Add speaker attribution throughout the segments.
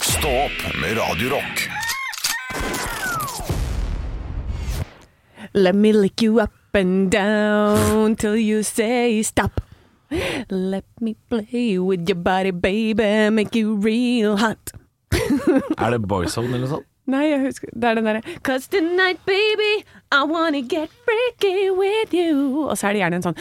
Speaker 1: Stå opp med Radio Rock.
Speaker 2: Let me lick you up and down till you say stop. Let me play with your body, baby, make you real hot.
Speaker 3: Er det Boyzone eller noe sånt?
Speaker 2: Nei, jeg husker Det er den derre Cause tonight, baby, I wanna get freaky with you. Og så er det gjerne en sånn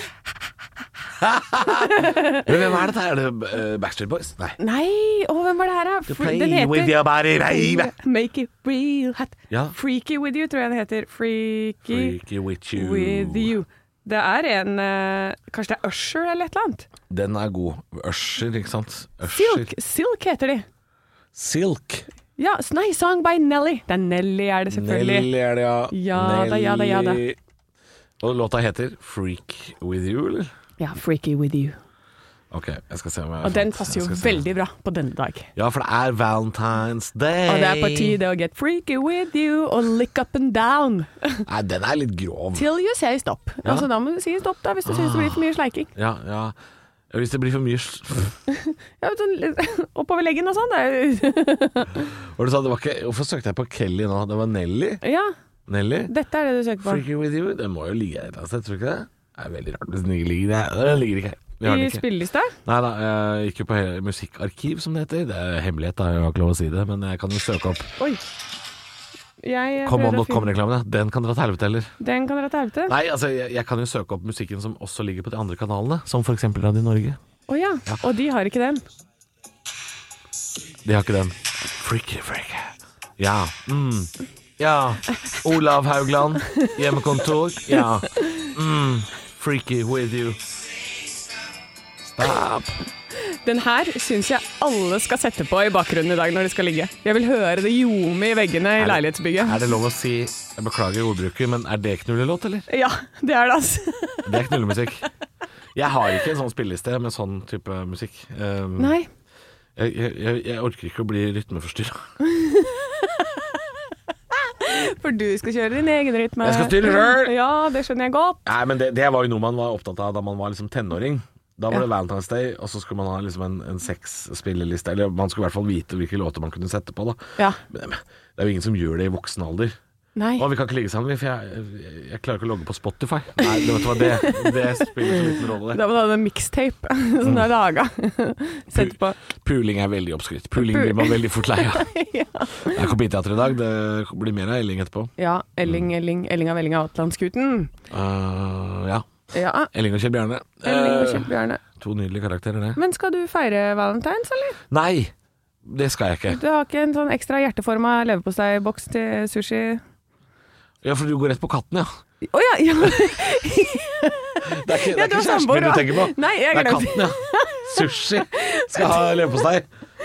Speaker 3: Men hvem er dette? Er det eh, Backstreet Boys? Nei.
Speaker 2: Nei, å, hvem var det her, da? For- Den
Speaker 3: Play with
Speaker 2: heter
Speaker 3: your body, baby.
Speaker 2: Make it real hot.
Speaker 3: Ja.
Speaker 2: Freaky with you, tror jeg den heter. Freaky,
Speaker 3: Freaky with you.
Speaker 2: with you. Det er en eh, Kanskje det er Usher eller et eller annet?
Speaker 3: Den er god. Usher, ikke sant? Usher.
Speaker 2: Silk, Silk heter de.
Speaker 3: Silk.
Speaker 2: Ja, s- nei, Song by Nelly. Det er Nelly er det selvfølgelig.
Speaker 3: Nelly er det, ja.
Speaker 2: Ja da, ja da, ja da.
Speaker 3: Nelly. Og låta heter Freak with you, eller?
Speaker 2: Ja, Freaky with you.
Speaker 3: Ok, jeg skal se om jeg
Speaker 2: Og den
Speaker 3: fant-
Speaker 2: passer jo
Speaker 3: jeg skal se.
Speaker 2: veldig bra på denne dag.
Speaker 3: Ja, for det er Valentine's Day.
Speaker 2: Og det er på tide å get freaky with you og lick up and down
Speaker 3: Nei, den er litt grov.
Speaker 2: til you sier stopp. Altså da må du si stopp da hvis du synes det blir for mye sleiking.
Speaker 3: Ja, ja. Hvis det blir for mye s-
Speaker 2: Ja, vet du, sånn litt oppover leggen og sånn. det er
Speaker 3: Var det sånn, det var ikke, Hvorfor søkte jeg på Kelly nå? Det var Nelly.
Speaker 2: jo- Ja,
Speaker 3: Nelly.
Speaker 2: dette er det du søker på.
Speaker 3: Freaking with you. Den må jo ligge et eller annet sted, tror du ikke det? Det er veldig rart hvis den ikke ligger der. Den ligger ikke her. Vi har
Speaker 2: I
Speaker 3: den ikke.
Speaker 2: spillelista?
Speaker 3: Nei da, jeg gikk jo på he- musikkarkiv, som det heter. Det er hemmelighet, da. Jeg har ikke lov å si det, men jeg kan jo søke opp.
Speaker 2: Oi. Jeg
Speaker 3: Come on,
Speaker 2: prøvde å finne-
Speaker 3: .com-reklamene. Den kan dra til helvete, eller?
Speaker 2: Den kan dere ta helvete.
Speaker 3: Nei, altså, jeg, jeg kan jo søke opp musikken som også ligger på de andre kanalene, som f.eks. Radio Norge.
Speaker 2: Å ja. Og de har ikke den.
Speaker 3: De har ikke den. Freaky, freaky. Ja. Mm. Ja. Olav Haugland, hjemmekontor. Ja. Mm. Freaky with you. Stop.
Speaker 2: Den her syns jeg alle skal sette på i bakgrunnen i dag når de skal ligge. Jeg vil høre det ljome i veggene i
Speaker 3: det-
Speaker 2: leilighetsbygget.
Speaker 3: Er det lov å si Jeg beklager ordbruket, men er det knullelåt, eller?
Speaker 2: Ja, det er det, altså.
Speaker 3: Det er knullemusikk. Jeg har ikke en sånn spilleliste med sånn type musikk. Um,
Speaker 2: Nei.
Speaker 3: Jeg, jeg, jeg- jeg orker ikke å bli rytmeforstyrra.
Speaker 2: For du skal kjøre din egen rytme.
Speaker 3: Jeg skal styre selv.
Speaker 2: Ja, det skjønner jeg godt.
Speaker 3: Nei, men det, det var jo noe man var opptatt av da man var liksom tenåring. Da var det Valentine's Day, og så skulle man ha liksom en, en sexspilleliste. Eller man skulle i hvert fall vite hvilke låter man kunne sette på. da
Speaker 2: Ja.
Speaker 3: Men men det er jo ingen som gjør det i voksen alder.
Speaker 2: Nei.
Speaker 3: Å, vi kan ikke ligge sammen, vi, for jeg, jeg klarer ikke å logge på Spotify. Nei, det, vet du hva, det, det spiller så liten rolle.
Speaker 2: Da må du ha en mixtape som du har laga. Sett på.
Speaker 3: Puling er veldig oppskrytt. Puling blir man veldig fort lei av.
Speaker 2: Ja.
Speaker 3: Det er kopiteater i dag. Det blir mer av Elling etterpå.
Speaker 2: ja. Elling, Elling, Elling av Elling av Atlantsgutten.
Speaker 3: Eh, ja.
Speaker 2: Ja.
Speaker 3: Elling og Kjell Bjarne.
Speaker 2: Elling og
Speaker 3: Eh,
Speaker 2: Kjempebjørne.
Speaker 3: to nydelige karakterer, det.
Speaker 2: Men skal du feire valentines, eller?
Speaker 3: Nei! Det skal jeg ikke.
Speaker 2: Du har ikke en sånn ekstra hjerteforma leverposteiboks til sushi?
Speaker 3: Ja, for du går rett på katten, ja.
Speaker 2: Å ja! ja.
Speaker 3: Det er ikke, det
Speaker 2: Ja,
Speaker 3: er
Speaker 2: du
Speaker 3: ikke
Speaker 2: har
Speaker 3: kjæresten
Speaker 2: samboer,
Speaker 3: min du
Speaker 2: da.
Speaker 3: tenker på.
Speaker 2: Nei, jeg
Speaker 3: det er
Speaker 2: glemte.
Speaker 3: katten, ja. Sushi skal ha leverpostei.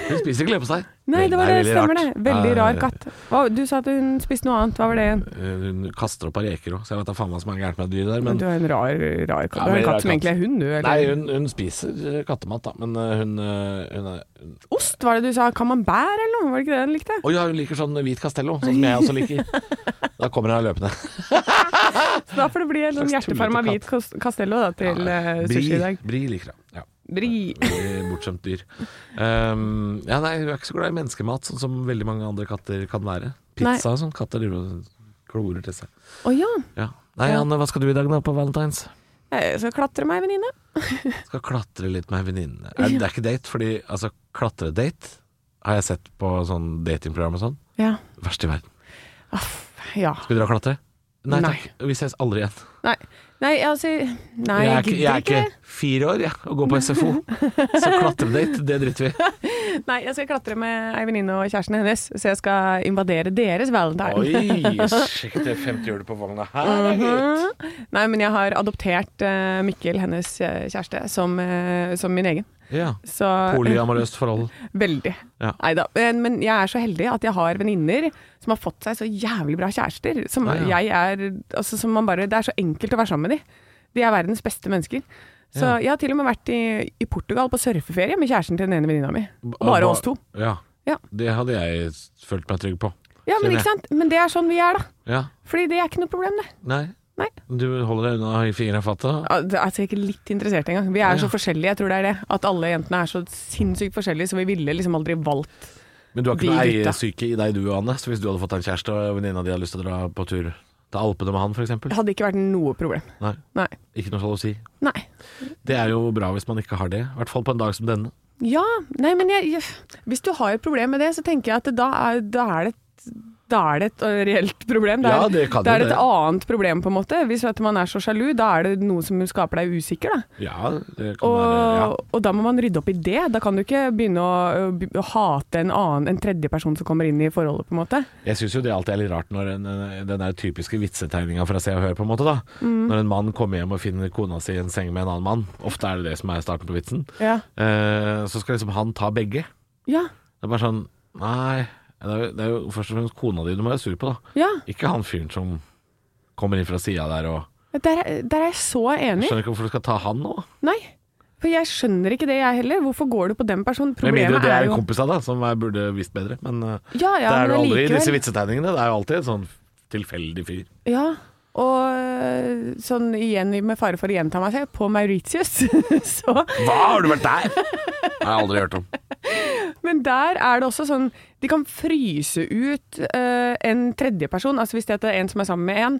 Speaker 3: Hun spiser ikke leverpostei.
Speaker 2: Nei, det var det,
Speaker 3: veldig
Speaker 2: stemmer det.
Speaker 3: rart.
Speaker 2: Veldig
Speaker 3: Ja,
Speaker 2: rar katt. Hva, du sa at hun spiste noe annet, hva var det? igjen?
Speaker 3: Eh, Hun kaster opp av reker òg, så jeg vet da faen hva som er gærent med dyret der. Men
Speaker 2: du har en rar, rar katt.
Speaker 3: Ja,
Speaker 2: du har
Speaker 3: veldig
Speaker 2: en
Speaker 3: rar
Speaker 2: katt som
Speaker 3: katt.
Speaker 2: egentlig er hund, du? Eller?
Speaker 3: Nei, hun, hun spiser eh, kattemat, da. Men eh, hun, eh, hun er hun-
Speaker 2: Ost, var det du sa? Camembert eller noe? Var det ikke det hun likte?
Speaker 3: Å ja, hun liker sånn hvit castello, sånn som jeg også liker. Da kommer hun løpende.
Speaker 2: Så da får det bli en sånn
Speaker 3: Slags
Speaker 2: hjertefarma
Speaker 3: tullete
Speaker 2: hvit kos- castello da, til eh, sushi i dag.
Speaker 3: Bri liker det. Ja.
Speaker 2: Bri.
Speaker 3: Veldig bortskjemt dyr. Um, ja, nei, hun er ikke så glad i menneskemat, sånn som veldig mange andre katter kan være.
Speaker 2: Nei.
Speaker 3: Pizza og sånn. Katter driver og klorer til seg.
Speaker 2: Å ja.
Speaker 3: Ja. Nei,
Speaker 2: Ja.
Speaker 3: Anne, hva skal du i dag da på Valentine's?
Speaker 2: Jeg skal Eh, klatre meg, venninne.
Speaker 3: Skal klatre litt med ei venninne. Er- Det er ikke date, fordi altså, klatredate har jeg sett på sånn datingprogram og sånn.
Speaker 2: Ja.
Speaker 3: Verst i verden.
Speaker 2: Ah, ja.
Speaker 3: Skal vi dra og klatre? Nei
Speaker 2: Nei.
Speaker 3: takk, vi ses aldri igjen.
Speaker 2: Nei. Nei, altså Nei,
Speaker 3: jeg, er
Speaker 2: jeg
Speaker 3: ikke, jeg
Speaker 2: gidder
Speaker 3: er
Speaker 2: ikke.
Speaker 3: ikke fire år, jeg, ja, og går på SFO. Så klatredate, det driter vi i.
Speaker 2: Nei, jeg skal klatre med ei venninne og kjæresten hennes, så jeg skal invadere deres valentine.
Speaker 3: Oi, sjekk det femtehjulet på vogna her,
Speaker 2: Nei, men jeg har adoptert eh, Mikkel, hennes eh, kjæreste, som, eh, som min egen.
Speaker 3: Ja.
Speaker 2: Så
Speaker 3: Polyamorøst forhold.
Speaker 2: Veldig.
Speaker 3: Ja.
Speaker 2: Neida. Men, men jeg er så heldig at jeg har venninner som har fått seg så jævlig bra kjærester. Som
Speaker 3: Ja, ja.
Speaker 2: jeg er altså, som man bare, Det er så enkelt å være sammen med de. De er verdens beste mennesker. Så
Speaker 3: Ja.
Speaker 2: jeg har til og med vært i, i Portugal på surfeferie med kjæresten til den ene venninna mi. Og Bare oss to.
Speaker 3: Ja.
Speaker 2: Ja.
Speaker 3: Det hadde jeg følt meg trygg på.
Speaker 2: Ja, men
Speaker 3: Skjønner.
Speaker 2: ikke sant? Men det er sånn vi er, da.
Speaker 3: Ja.
Speaker 2: Fordi det er ikke noe problem, det.
Speaker 3: Nei.
Speaker 2: Nei.
Speaker 3: Du holder deg unna i fingra av fattet?
Speaker 2: Ja, det- Altså, jeg er ikke litt interessert engang. Vi er
Speaker 3: Ja.
Speaker 2: så forskjellige, jeg tror det er det. At alle jentene er så sinnssykt forskjellige, så vi ville liksom aldri valgt
Speaker 3: Men du har ikke
Speaker 2: Vi
Speaker 3: noe
Speaker 2: gutta.
Speaker 3: eiesyke i deg du, Anne. Så hvis du hadde fått deg en kjæreste og venninna di hadde lyst til å dra på tur til Alpene med han,
Speaker 2: Det
Speaker 3: f.eks.
Speaker 2: hadde ikke vært noe problem.
Speaker 3: Nei,
Speaker 2: Nei.
Speaker 3: ikke noe sjalusi.
Speaker 2: Nei.
Speaker 3: Det er jo bra hvis man ikke har det. I hvert fall på en dag som denne.
Speaker 2: Ja, nei, men jeg, jeg, hvis du har et problem med det, så tenker jeg at da er, da er det et da er det et øh, reelt problem. Da er,
Speaker 3: Ja, det kan
Speaker 2: da
Speaker 3: jo
Speaker 2: er det et
Speaker 3: det.
Speaker 2: annet problem, på en måte. Hvis at man er så sjalu, da er det noe som skaper deg usikker. Da.
Speaker 3: Ja, det kan
Speaker 2: Og,
Speaker 3: være ja.
Speaker 2: og da må man rydde opp i det. Da kan du ikke begynne å, øh, be- å hate en annen, en tredje person som kommer inn i forholdet, på en måte.
Speaker 3: Jeg syns jo det alltid er litt rart når en, den der typiske vitsetegninga fra Se og Hør, på en måte, da.
Speaker 2: Mm.
Speaker 3: Når en mann kommer hjem og finner kona si i en seng med en annen mann. Ofte er det det som er starten på vitsen.
Speaker 2: Ja.
Speaker 3: Eh, så skal liksom han ta begge.
Speaker 2: Ja.
Speaker 3: Det er bare sånn Nei. Det er jo, det er jo først og fremst kona di du må være sur på, da.
Speaker 2: ja.
Speaker 3: Ikke han fyren som kommer inn fra sida der og
Speaker 2: Der, er- der er jeg så enig.
Speaker 3: Skjønner ikke hvorfor du skal ta han nå.
Speaker 2: Nei. For jeg skjønner ikke det, jeg heller. Hvorfor går du på den personen?
Speaker 3: Med mindre
Speaker 2: Problemet
Speaker 3: det
Speaker 2: er
Speaker 3: er
Speaker 2: jo
Speaker 3: kompisa, da, som jeg burde visst bedre. Men eh,
Speaker 2: Ja, ja,
Speaker 3: det
Speaker 2: men
Speaker 3: er det aldri i
Speaker 2: allikevel.
Speaker 3: disse vitsetegningene. Det er jo alltid en sånn tilfeldig fyr.
Speaker 2: Ja, og øh, sånn igjen med fare for å gjenta meg selv, på Mauritius. så,
Speaker 3: Hva, har du vært der?! Det har jeg aldri hørt om.
Speaker 2: men der er det også sånn De kan fryse ut øh, en tredjeperson. Altså hvis det er en som er sammen med en,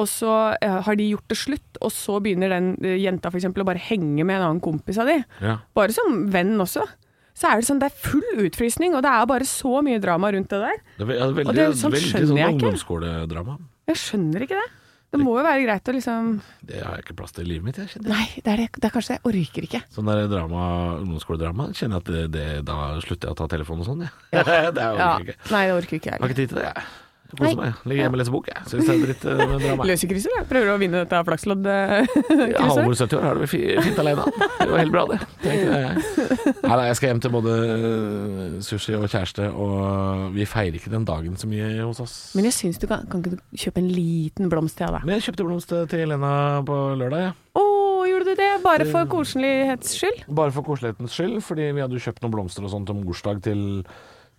Speaker 2: og så øh, har de gjort det slutt, og så begynner den øh, jenta f.eks. å bare henge med en annen kompis av de.
Speaker 3: Ja.
Speaker 2: Bare som venn også. Så er det sånn, det er full utfrysning, og det er bare så mye drama rundt det der.
Speaker 3: Det er ve- ja, veldig,
Speaker 2: Og det er sånn
Speaker 3: veldig
Speaker 2: skjønner
Speaker 3: sånn
Speaker 2: jeg ikke.
Speaker 3: ungdomsskoledrama.
Speaker 2: Jeg skjønner ikke det. Det må jo være greit å liksom
Speaker 3: Det har jeg ikke plass til i livet mitt. Jeg kjenner.
Speaker 2: Nei, det er, det, det er kanskje det. Jeg orker ikke.
Speaker 3: Sånn der drama, ungdomsskoledrama kjenner jeg at det, det, da slutter jeg å ta telefonen og sånn. jeg. det er jo
Speaker 2: Ja.
Speaker 3: ikke.
Speaker 2: Nei, det orker ikke jeg.
Speaker 3: Jeg har ikke tid til det. jeg. Jeg koser
Speaker 2: Nei.
Speaker 3: meg. jeg. Ligger hjemme og leser bok. Jeg syns det er dritt eh, med drama. jeg.
Speaker 2: Løser krysser, da. Prøver å vinne dette eh, flakslodd-krysset.
Speaker 3: Ja, Halvor 70 år har det vel fi- fint alene. Det var helt bra, det. Tenkte jeg. Nei, nei, jeg skal hjem til både eh, sushi og kjæreste, og vi feirer ikke den dagen så mye hos oss.
Speaker 2: Men jeg syns du kan, kan ikke du kjøpe en liten blomst til deg?
Speaker 3: Men jeg kjøpte blomst til Elena på lørdag, jeg.
Speaker 2: Å, gjorde du det? Bare for koselighets skyld?
Speaker 3: Bare for koselighetens skyld, fordi vi hadde jo kjøpt noen blomster og sånt om bursdag til,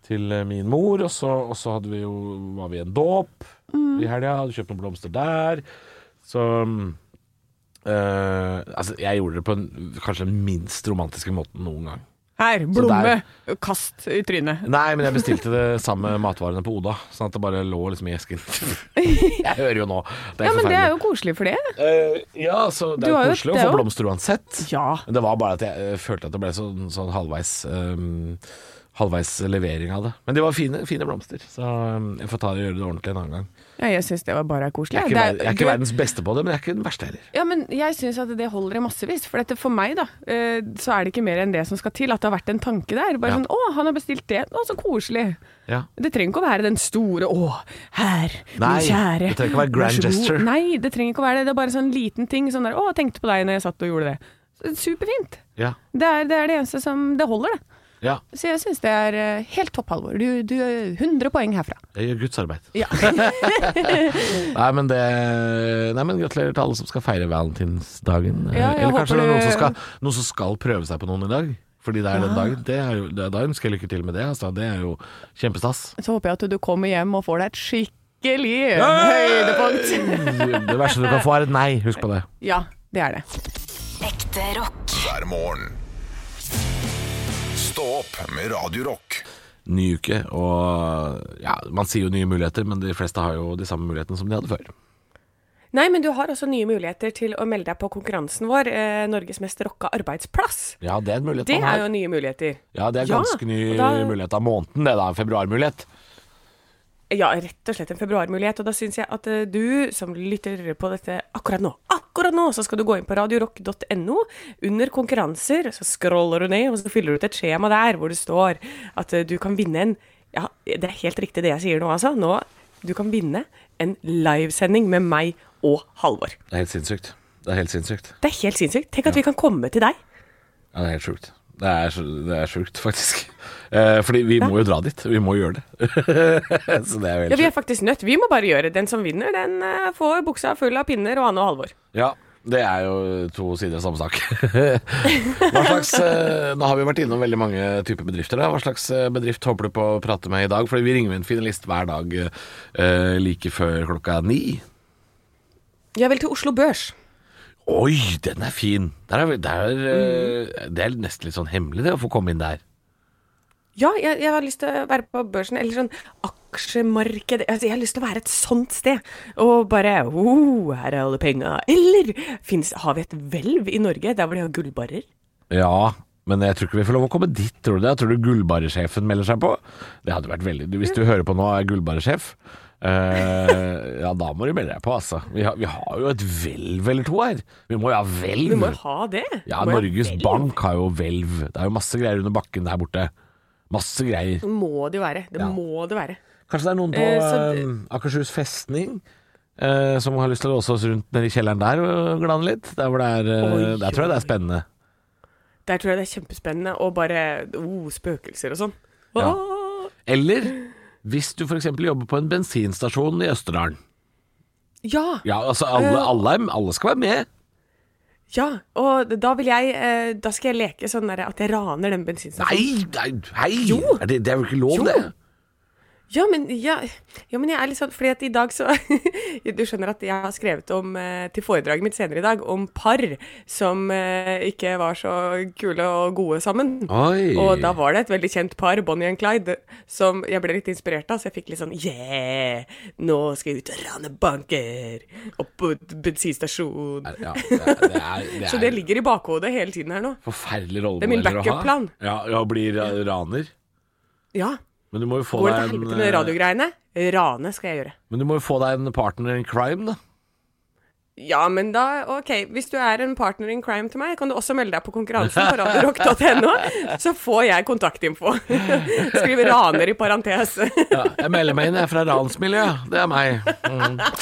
Speaker 3: til eh, min mor, og så, og så hadde vi jo, var vi i en dåp
Speaker 2: Mm.
Speaker 3: i helga, hadde kjøpt noen blomster der. Så mm, eh, altså, jeg gjorde det på en, kanskje den minst romantiske måten noen gang.
Speaker 2: Her, blomme! Kast i trynet.
Speaker 3: Nei, men jeg bestilte det samme matvarene på Oda, sånn at det bare lå liksom i esken. jeg hører jo nå. Det
Speaker 2: Ja, men det
Speaker 3: er
Speaker 2: er
Speaker 3: forferdelig.
Speaker 2: jo koselig for det.
Speaker 3: Eh, ja, så det
Speaker 2: Du
Speaker 3: er
Speaker 2: har jo-
Speaker 3: jo koselig å
Speaker 2: det er
Speaker 3: få
Speaker 2: jo-
Speaker 3: blomster uansett.
Speaker 2: Ja.
Speaker 3: Men Det var bare at jeg eh, følte at det ble sånn, sånn halvveis ehm, Halvveis levering av det. Men de var fine, fine blomster, så ehm, jeg får ta det og gjøre det ordentlig en annen gang.
Speaker 2: ja jeg syns det var bare koselig.
Speaker 3: Jeg er,
Speaker 2: Det
Speaker 3: ikke, ver- jeg er ikke
Speaker 2: du-
Speaker 3: verdens beste på det, men jeg er ikke den verste heller.
Speaker 2: Ja, men jeg syns at det holder i massevis. For dette for meg, da, eh, så er det ikke mer enn det som skal til. At det har vært en tanke der. Bare
Speaker 3: Ja.
Speaker 2: sånn 'Å, han har bestilt det. Å, så koselig'.
Speaker 3: Ja.
Speaker 2: Det trenger ikke å være den store 'Å, her,
Speaker 3: Nei,
Speaker 2: min kjære'.
Speaker 3: det trenger ikke å være
Speaker 2: vær
Speaker 3: grand
Speaker 2: så god».
Speaker 3: gesture.
Speaker 2: Nei, det trenger ikke å være det. Det er bare sånn liten ting. Sånn der 'Å, tenkte på deg når jeg satt og gjorde det'. Så- Superfint.
Speaker 3: Ja.
Speaker 2: Det er det, er det eneste som Det holder, det.
Speaker 3: ja.
Speaker 2: Så jeg syns det er eh, helt topp alvor. Du, du eh, 100 poeng herfra.
Speaker 3: Jeg gjør Guds arbeid.
Speaker 2: Ja.
Speaker 3: Nei, men det Nei, men gratulerer til alle som skal feire valentinsdagen. Eh,
Speaker 2: Ja, jeg
Speaker 3: Eller
Speaker 2: håper
Speaker 3: kanskje det er noen som,
Speaker 2: du-
Speaker 3: skal, noen som skal prøve seg på noen i dag. Fordi det er den dagen. Det er jo, det, da ønsker jeg lykke til med det. Altså. Det er jo kjempestas.
Speaker 2: Så håper jeg at du kommer hjem og får deg et skikkelig høydepunkt.
Speaker 3: Det verste du kan få, er et nei. Husk på det.
Speaker 2: Ja, det er det.
Speaker 4: Ekte rock.
Speaker 1: hver morgen. Stå opp med Radio Rock.
Speaker 3: ny uke, og ja, man sier jo nye muligheter, men de fleste har jo de samme mulighetene som de hadde før.
Speaker 5: Nei, men du har også nye muligheter til å melde deg på konkurransen vår, eh, Norges mest rocka arbeidsplass.
Speaker 3: Ja, det er en mulighet
Speaker 5: Det
Speaker 3: man
Speaker 5: er jo
Speaker 3: har.
Speaker 5: nye muligheter.
Speaker 3: Ja, det er
Speaker 5: Ja,
Speaker 3: ganske ny
Speaker 5: og da-
Speaker 3: mulighet av måneden, det da. en Februarmulighet.
Speaker 5: Ja, rett og slett en februarmulighet. Og da syns jeg at eh, du som lytter på dette akkurat nå, akkurat nå, så skal du gå inn på radiorock.no. Under konkurranser, så scroller du ned, og så fyller du ut et skjema der hvor det står at eh, du kan vinne en Ja, det er helt riktig det jeg sier nå, altså. Nå, du kan vinne en livesending med meg og Halvor.
Speaker 3: Det er helt sinnssykt. Det er helt sinnssykt.
Speaker 5: Det er helt sinnssykt. Tenk at vi kan komme til deg.
Speaker 3: Ja, det er helt sjukt. Det er, så- det er sjukt, faktisk. Eh, fordi vi må jo dra dit. Vi må gjøre det. så det er jo
Speaker 5: Ja,
Speaker 3: helt
Speaker 5: vi er
Speaker 3: sjukt.
Speaker 5: faktisk nødt. Vi må bare gjøre det. Den som vinner, den eh, får buksa full av pinner og Anne og Halvor.
Speaker 3: Ja. Det er jo to sider av samme sak. Hva slags, eh, nå har vi vært innom veldig mange typer bedrifter. Da. Hva slags eh, bedrift håper du på å prate med i dag? Fordi vi ringer en finalist hver dag eh, like før klokka ni.
Speaker 5: Jeg vil til Oslo Børs.
Speaker 3: Oi, den er fin! Der er, vi- der, eh, Det er nesten litt sånn hemmelig det å få komme inn der.
Speaker 2: Ja, jeg, jeg har lyst til å være på børsen, eller sånn aksjemarked altså, Jeg har lyst til å være et sånt sted, og bare oh, her er alle penga. Eller finnes, har vi et hvelv i Norge der hvor de har gullbarrer?
Speaker 3: Ja, men jeg tror ikke vi får lov å komme dit, tror du det? Tror du gullbaresjefen melder seg på? Det hadde vært veldig Hvis du hører på nå og er gullbaresjef, eh, ja, da må du melde deg på, altså. Vi har, vi har jo et hvelv eller to her. Vi må jo ha
Speaker 2: Vi må
Speaker 3: hvelv.
Speaker 2: jo ha det.
Speaker 3: Mm. Ja,
Speaker 2: Må jo ha
Speaker 3: Norges
Speaker 2: hvelv.
Speaker 3: Bank har jo hvelv. Det er jo masse greier under bakken der borte. Masse greier.
Speaker 2: Må det jo være. Det må det være.
Speaker 3: Kanskje det er noen på
Speaker 2: Eh, så
Speaker 3: eh, Akershus festning eh, som har lyst til å låse oss rundt nede i kjelleren der og glane litt. Der, hvor det er, eh,
Speaker 2: Oi,
Speaker 3: der tror jeg det
Speaker 2: oi.
Speaker 3: er spennende.
Speaker 2: Der tror jeg det er kjempespennende, og bare oh, spøkelser og sånn.
Speaker 3: Ja.
Speaker 2: Åh!
Speaker 3: Eller hvis du f.eks. jobber på en bensinstasjon i Østerdalen.
Speaker 2: Ja!
Speaker 3: Ja, altså alle,
Speaker 2: Eh,
Speaker 3: alle, er- alle skal være med.
Speaker 2: Ja, og da vil jeg eh, Da skal jeg leke sånn der at jeg raner den bensinstasjonen.
Speaker 3: Nei, nei, hei!
Speaker 2: Jo.
Speaker 3: Er det, det er jo ikke lov,
Speaker 2: Jo.
Speaker 3: det.
Speaker 2: Ja, men, ja, ja, men jeg er litt sånn Fordi at i dag så Du skjønner at jeg har skrevet om eh, til foredraget mitt senere i dag om par som eh, ikke var så kule og gode sammen.
Speaker 3: Oi.
Speaker 2: Og da var det et veldig kjent par, Bonnie og Clyde, som jeg ble litt inspirert av. Så jeg fikk litt sånn Yeah! Nå skal jeg ut og rane banker! Opp på bensinstasjon.
Speaker 3: Ja, det er, det er, det er
Speaker 2: Så det ligger i bakhodet hele tiden her nå.
Speaker 3: forferdelig
Speaker 2: Det er min
Speaker 3: rollemodeller å ha.
Speaker 2: backup-plan.
Speaker 3: Ja, ja, å bli ra- raner.
Speaker 2: Ja.
Speaker 3: Men du må jo få
Speaker 2: Går det til
Speaker 3: deg en
Speaker 2: helvete med
Speaker 3: eh,
Speaker 2: radiogreiene? Rane skal jeg gjøre.
Speaker 3: Men du må jo få deg en partner in crime, da.
Speaker 2: Ja, men da, ok, hvis du er en partner in crime til meg, kan du også melde deg på konkurransen på radiorock.no, så får jeg kontaktinfo. Skriv 'raner' i parentes.
Speaker 3: Ja, jeg melder meg inn, jeg er fra ransmiljøet. Det er meg.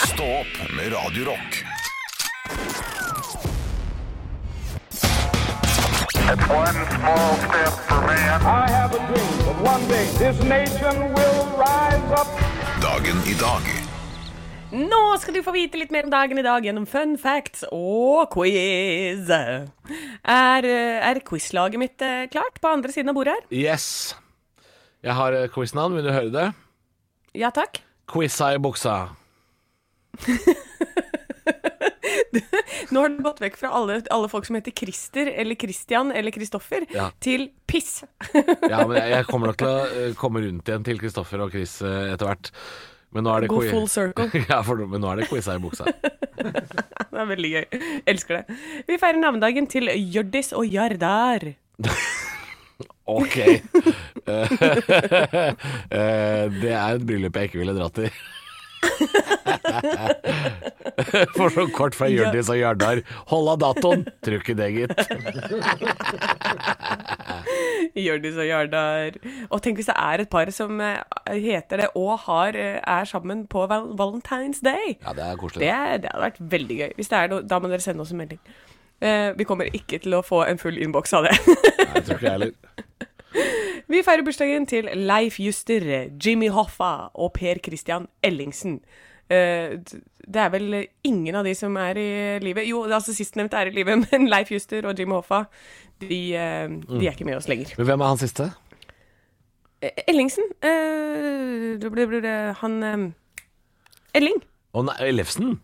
Speaker 1: Stå opp med Radio Rock.
Speaker 6: It's one small step for man.
Speaker 7: I have a dream that one day this nation will rise up.
Speaker 1: Dagen i dag.
Speaker 2: Nå skal du få vite litt mer om dagen i dag gjennom fun facts og quiz. Er, eh, er quizlaget mitt eh, klart på andre siden av bordet her?
Speaker 3: Yes. Jeg har eh, quiznavn, vil du høre det?
Speaker 2: Ja takk.
Speaker 3: Quiza i buksa.
Speaker 2: Nå har du gått vekk fra alle, alle folk som heter Christer eller Christian eller Kristoffer,
Speaker 3: Ja.
Speaker 2: til piss.
Speaker 3: Ja, men jeg, jeg kommer nok til å eh, komme rundt igjen til Kristoffer og Chris eh, etter hvert. Men nå er det
Speaker 2: Gå
Speaker 3: qui-
Speaker 2: full circle.
Speaker 3: ja, for, men nå er det quiza i buksa.
Speaker 2: Det er veldig gøy. Elsker det. Vi feirer navnedagen til Hjørdis og Jardar.
Speaker 3: Ok. Eh, eh, det er et bryllup jeg ikke ville dratt i. For så kort fra Hjørdis og Jardar. Hold av datoen! Tror ikke det, gitt.
Speaker 2: Hjørdis og Jardar. Og tenk hvis det er et par som eh, heter det og har, eh, er sammen på val Valentine's Day.
Speaker 3: Ja, det er koselig.
Speaker 2: Det, det hadde vært veldig gøy. Hvis det er noe, da må dere sende oss en melding. Eh, vi kommer ikke til å få en full innboks av det.
Speaker 3: Nei, jeg tror ikke jeg heller.
Speaker 2: vi feirer bursdagen til Leif Juster, Jimmy Hoffa og Per Christian Ellingsen. Eh, d- det er vel ingen av de som er i live. Jo, det er altså sistnevnte er i live, men Leif Juster og Jimmy Hoffa, de, eh, de er ikke med oss lenger.
Speaker 3: Men hvem er han siste?
Speaker 2: Eh, Ellingsen eh, det blir, blir det, Han eh, Elling.
Speaker 3: Å nei, Ellefsen?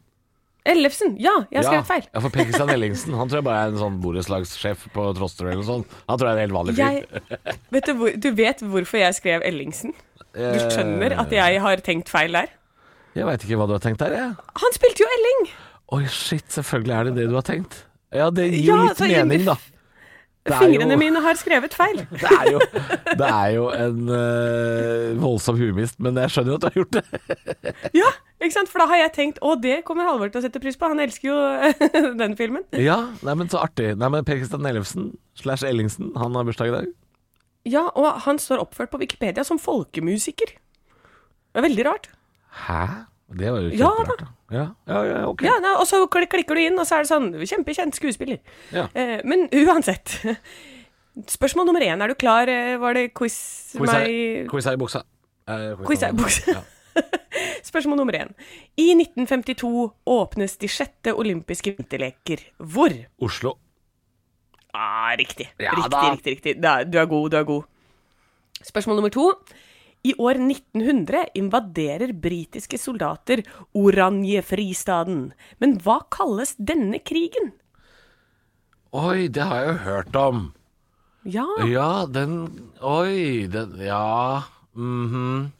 Speaker 2: Ellefsen. Ja, jeg har
Speaker 3: ja.
Speaker 2: skrevet feil.
Speaker 3: Ja, for Per Kristian Ellingsen. Han tror jeg bare er en sånn borettslagssjef på Trosterud eller noe sånt. Han tror jeg er en helt vanlig fyr.
Speaker 2: Jeg, vet du, hvor, du vet hvorfor jeg skrev Ellingsen? Du
Speaker 3: Eh,
Speaker 2: skjønner at jeg har tenkt feil der?
Speaker 3: Jeg veit ikke hva du har tenkt der, jeg.
Speaker 2: Han spilte jo Elling!
Speaker 3: Oi, shit, selvfølgelig er det det du har tenkt. Ja, det gir jo
Speaker 2: Ja,
Speaker 3: litt
Speaker 2: så jeg-
Speaker 3: mening, da. Det er
Speaker 2: Fingrene
Speaker 3: jo-
Speaker 2: mine har skrevet feil.
Speaker 3: Det er jo, det er jo en eh, voldsom humist, men jeg skjønner jo at du har gjort det.
Speaker 2: Ja, ikke sant? For da har jeg tenkt å, det kommer Halvor til å sette pris på. Han elsker jo den filmen.
Speaker 3: Ja, nei, men så artig. Nei, men Per Kristian Ellefsen slash Ellingsen, han har bursdag i dag.
Speaker 2: Ja, og han står oppført på Wikipedia som folkemusiker. Det er veldig rart.
Speaker 3: Hæ? Det var jo
Speaker 2: Ja,
Speaker 3: kjemperart, da. Ja, ja, ja, ok.
Speaker 2: Ja, nei, Og så kli- klikker du inn, og så er det sånn Kjempekjent skuespiller.
Speaker 3: Ja.
Speaker 2: Eh, men uansett. Spørsmål nummer én. Er du klar? Eh, Var det quiz,
Speaker 3: Quiz er-
Speaker 2: meg
Speaker 3: Quiz er i buksa. Eh,
Speaker 2: Quiz er i buksa.
Speaker 3: Ja.
Speaker 2: Spørsmål nummer én. I 1952 åpnes de sjette olympiske vinterleker. Hvor?
Speaker 3: Oslo.
Speaker 2: Ah, riktig.
Speaker 3: Ja
Speaker 2: riktig,
Speaker 3: da.
Speaker 2: riktig, riktig. Da, du er god, du er god. Spørsmål nummer to. I år 1900 invaderer britiske soldater Oranjefristaden. Men hva kalles denne krigen?
Speaker 3: Oi, det har jeg jo hørt om.
Speaker 2: Ja.
Speaker 3: Ja, den Oi, den Ja. mhm.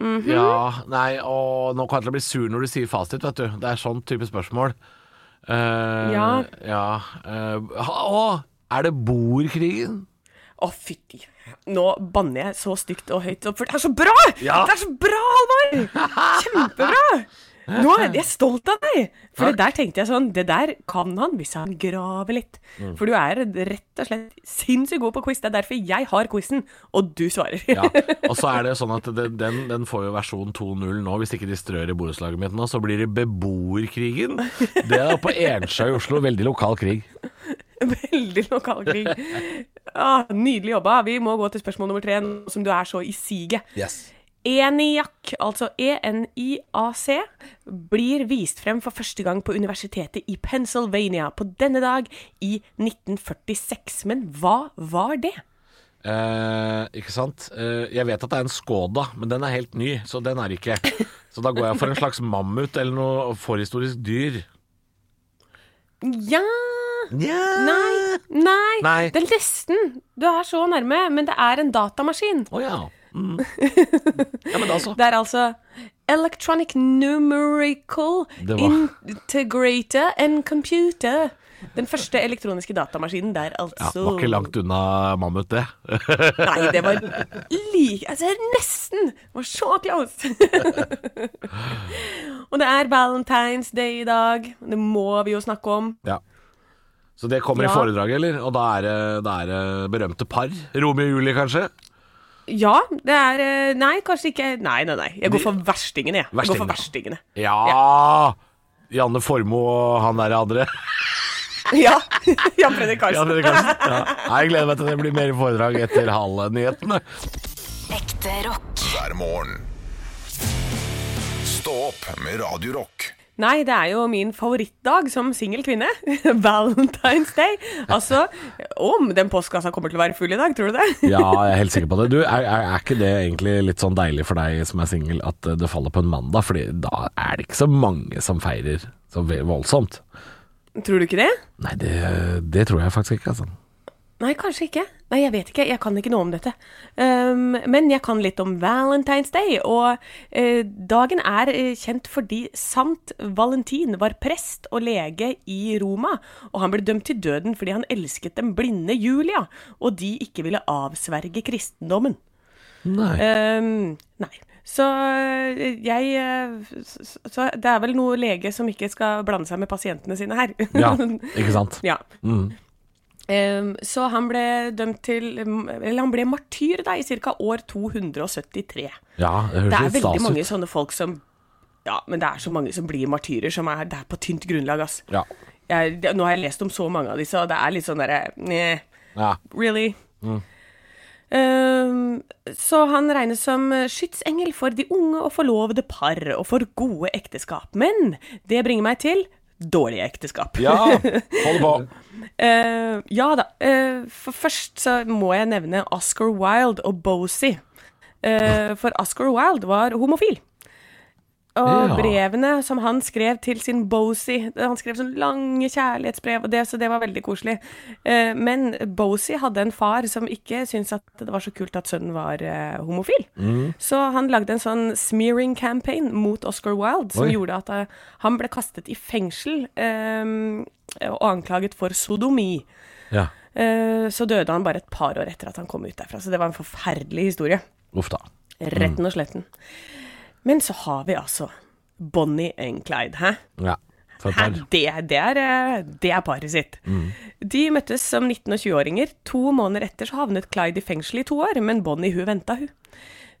Speaker 3: Ja. Nei, å, nå kommer jeg til å bli sur når du sier fasit, vet du. Det er sånn type spørsmål. Eh,
Speaker 2: Ja.
Speaker 3: ja eh, ha- å! Er det bordkrigen?
Speaker 2: Å, fytti. Nå banner jeg så stygt og høyt opp, for det er så bra!
Speaker 3: Ja.
Speaker 2: Det er så bra, Halvor! Kjempebra! Nå er jeg stolt av deg! For det der tenkte jeg sånn, det der kan han hvis han graver litt.
Speaker 3: Mm.
Speaker 2: For du er rett og slett sinnssykt god på quiz. Det er derfor jeg har quizen, og du svarer.
Speaker 3: Ja. Og så er det sånn at det, den, den får jo versjon 2.0 nå, hvis ikke de strør i borettslaget mitt nå. Så blir det beboerkrigen. Det er på Ensjø i Oslo. Veldig lokal krig.
Speaker 2: Veldig lokal krig. Ah, nydelig jobba. Vi må gå til spørsmål nummer tre, nå som du er så i siget.
Speaker 3: Yes.
Speaker 2: E ENIAC, altså E-N-I-A-C, blir vist frem for første gang på universitetet i Pennsylvania på denne dag i 1946. Men hva var det?
Speaker 3: Eh, ikke sant? Eh, jeg vet at det er en Skoda, men den er helt ny, så den er det ikke. Så da går jeg for en slags mammut eller noe forhistorisk dyr.
Speaker 2: Ja Nei. Nei.
Speaker 3: Nei.
Speaker 2: Det er nesten. Du er så nærme, men det er en datamaskin.
Speaker 3: Å ja. Mm. ja. Men da så.
Speaker 2: Det er altså Electronic Numerical
Speaker 3: Det var-
Speaker 2: Integrator and Computer. Den første elektroniske datamaskinen der,
Speaker 3: Ja,
Speaker 2: altså.
Speaker 3: var ikke langt unna mammut, det.
Speaker 2: Nei, det var like Altså, nesten! Det var så close! Og det er Valentine's Day i dag. Det må vi jo snakke om.
Speaker 3: Ja. Så det kommer i
Speaker 2: Ja.
Speaker 3: foredraget, eller? Og da er det, da er det berømte par. Romeo og Julie, kanskje?
Speaker 2: Ja, det er eh, Nei, kanskje ikke Nei, nei, nei. Jeg går for verstingene, jeg. jeg går for verstingene.
Speaker 3: Ja! Janne Formoe og han der andre.
Speaker 2: Ja. Jan Fredrik Karlsen.
Speaker 3: Janne Karlsen. Ja. Nei, Jeg gleder meg til det blir mer foredrag etter halve nyhetene.
Speaker 8: Ekte rock.
Speaker 1: hver morgen. Stå opp med Radio Rock.
Speaker 2: Nei, det er jo min favorittdag som singel kvinne. Valentine's Day. Altså, om den postkassa kommer til å være full i dag, tror du det?
Speaker 3: Ja, jeg er helt sikker på det. Du, er, er, er ikke det egentlig litt sånn deilig for deg som er singel, at eh, det faller på en mandag? Fordi da er det ikke så mange som feirer så ve- voldsomt.
Speaker 2: Tror du ikke det?
Speaker 3: Nei, det, det tror jeg faktisk ikke, altså.
Speaker 2: Nei, kanskje ikke. Nei, jeg vet ikke. Jeg kan ikke noe om dette. Ehm, men jeg kan litt om Valentine's Day. Og eh, dagen er eh, kjent fordi Sant Valentin var prest og lege i Roma. Og han ble dømt til døden fordi han elsket den blinde Julia, og de ikke ville avsverge kristendommen.
Speaker 3: Nei.
Speaker 2: Ehm, nei. Så eh, jeg eh, s- Så det er vel noe lege som ikke skal blande seg med pasientene sine her.
Speaker 3: Ja, ikke sant?
Speaker 2: Ja. Ehm, så han ble dømt til Eller han ble martyr da, i ca. år 273.
Speaker 3: Ja,
Speaker 2: Det
Speaker 3: det høres
Speaker 2: er
Speaker 3: litt
Speaker 2: veldig
Speaker 3: stas
Speaker 2: mange
Speaker 3: ut.
Speaker 2: sånne folk som Ja, men det er så mange som blir martyrer, som er der på tynt grunnlag, ass.
Speaker 3: Ja.
Speaker 2: Jeg, det, nå har jeg lest om så mange av disse, og det er litt sånn derre eh,
Speaker 3: Ja.
Speaker 2: Really? Ehm, så han regnes som skytsengel for de unge og forlovede par, og for gode ekteskap. Men det bringer meg til dårlige ekteskap.
Speaker 3: ja, hold på.
Speaker 2: Eh, ja da. eh, for først så må jeg nevne Oscar Wilde og Bosie. Eh, for Oscar Wilde var homofil. Og
Speaker 3: Ja.
Speaker 2: brevene som han skrev til sin Bosie Han skrev sånne lange kjærlighetsbrev, og det, så det var veldig koselig. Eh, men Bosie hadde en far som ikke syntes at det var så kult at sønnen var eh, homofil. Så han lagde en sånn smearing campaign mot Oscar Wilde, som
Speaker 3: Oi.
Speaker 2: gjorde at eh, han ble kastet i fengsel eh, og anklaget for sodomi.
Speaker 3: Ja.
Speaker 2: Eh, så døde han bare et par år etter at han kom ut derfra, så det var en forferdelig historie.
Speaker 3: Uff da.
Speaker 2: Retten og sletten. Men så har vi altså Bonnie and Clyde, hæ?
Speaker 3: Ja. For et
Speaker 2: Hæ,
Speaker 3: par.
Speaker 2: det, det, er, eh, det er paret sitt. De møttes som 19- og 20-åringer. To måneder etter så havnet Clyde i fengsel i to år, men Bonnie hun venta hun.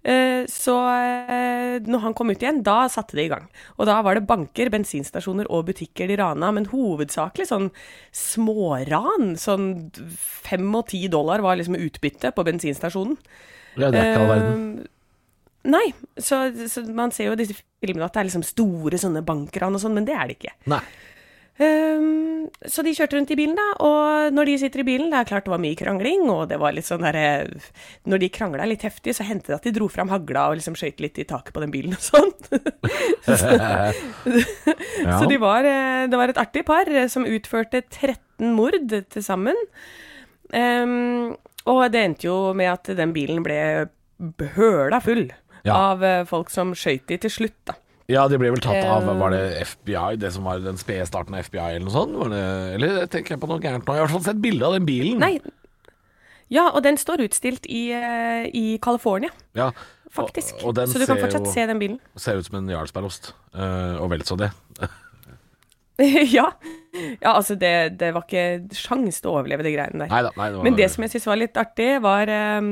Speaker 2: Eh, Så eh, når han kom ut igjen, da satte de i gang. Og da var det banker, bensinstasjoner og butikker de rana, men hovedsakelig sånn småran. Sånn fem og ti dollar var liksom utbytte på bensinstasjonen.
Speaker 3: Ja, det er ikke all verden.
Speaker 2: Eh, Nei, så, så man ser jo i disse filmene at det er liksom store sånne bankran og sånn, men det er det ikke.
Speaker 3: Nei.
Speaker 2: Ehm, så de kjørte rundt i bilen, da, og når de sitter i bilen Det er klart det var mye krangling, og det var litt sånn derre Når de krangla litt heftig, så hendte det at de dro fram hagla og liksom skøyt litt i taket på den bilen og sånn.
Speaker 3: Ja.
Speaker 2: Så de var, eh, det var et artig par eh, som utførte 13 mord til sammen. Ehm, Og det endte jo med at den bilen ble b- høla full
Speaker 3: Ja.
Speaker 2: av eh, folk som skøyt de til slutt, da.
Speaker 3: Ja, de ble vel tatt av
Speaker 2: Eh.
Speaker 3: Var det FBI, det som var den spede starten av FBI eller noe sånt? Var det, eller tenker jeg på noe gærent nå? Jeg har i hvert fall sett bilde av den bilen.
Speaker 2: Nei. Ja, og den står utstilt i, eh, i California,
Speaker 3: Ja,
Speaker 2: faktisk.
Speaker 3: Og, og den
Speaker 2: så du kan
Speaker 3: ser
Speaker 2: fortsatt
Speaker 3: jo,
Speaker 2: se den bilen.
Speaker 3: Ser ut som en jarlsbergost. eh, og vel så det.
Speaker 2: ja. ja, altså det, det var ikke sjans til å overleve de greiene der.
Speaker 3: Nei da. Nei, det var,
Speaker 2: Men det som jeg syntes var litt artig, var ehm,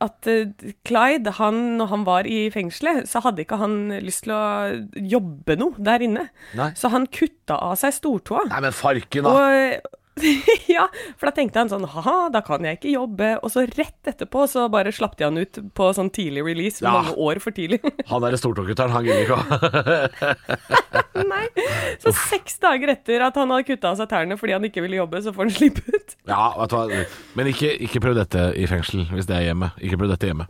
Speaker 2: at eh, Clyde, han, når han var i fengselet, så hadde ikke han lyst til å jobbe noe der inne.
Speaker 3: Nei.
Speaker 2: Så han kutta av seg stortåa.
Speaker 3: Nei, men farken, da!
Speaker 2: Og, ja, for da tenkte han sånn ha da kan jeg ikke jobbe. Og så rett etterpå så bare slapp de han ut på sånn tidlig release,
Speaker 3: Ja.
Speaker 2: mange år for tidlig.
Speaker 3: Han derre stortågutteren, han gidder ikke å
Speaker 2: Nei. Så seks dager etter at han hadde kutta av seg tærne fordi han ikke ville jobbe, så får han slippe ut.
Speaker 3: Ja, vet du hva. Men ikke, ikke prøv dette i fengsel, hvis det er hjemme. Ikke prøv dette hjemme.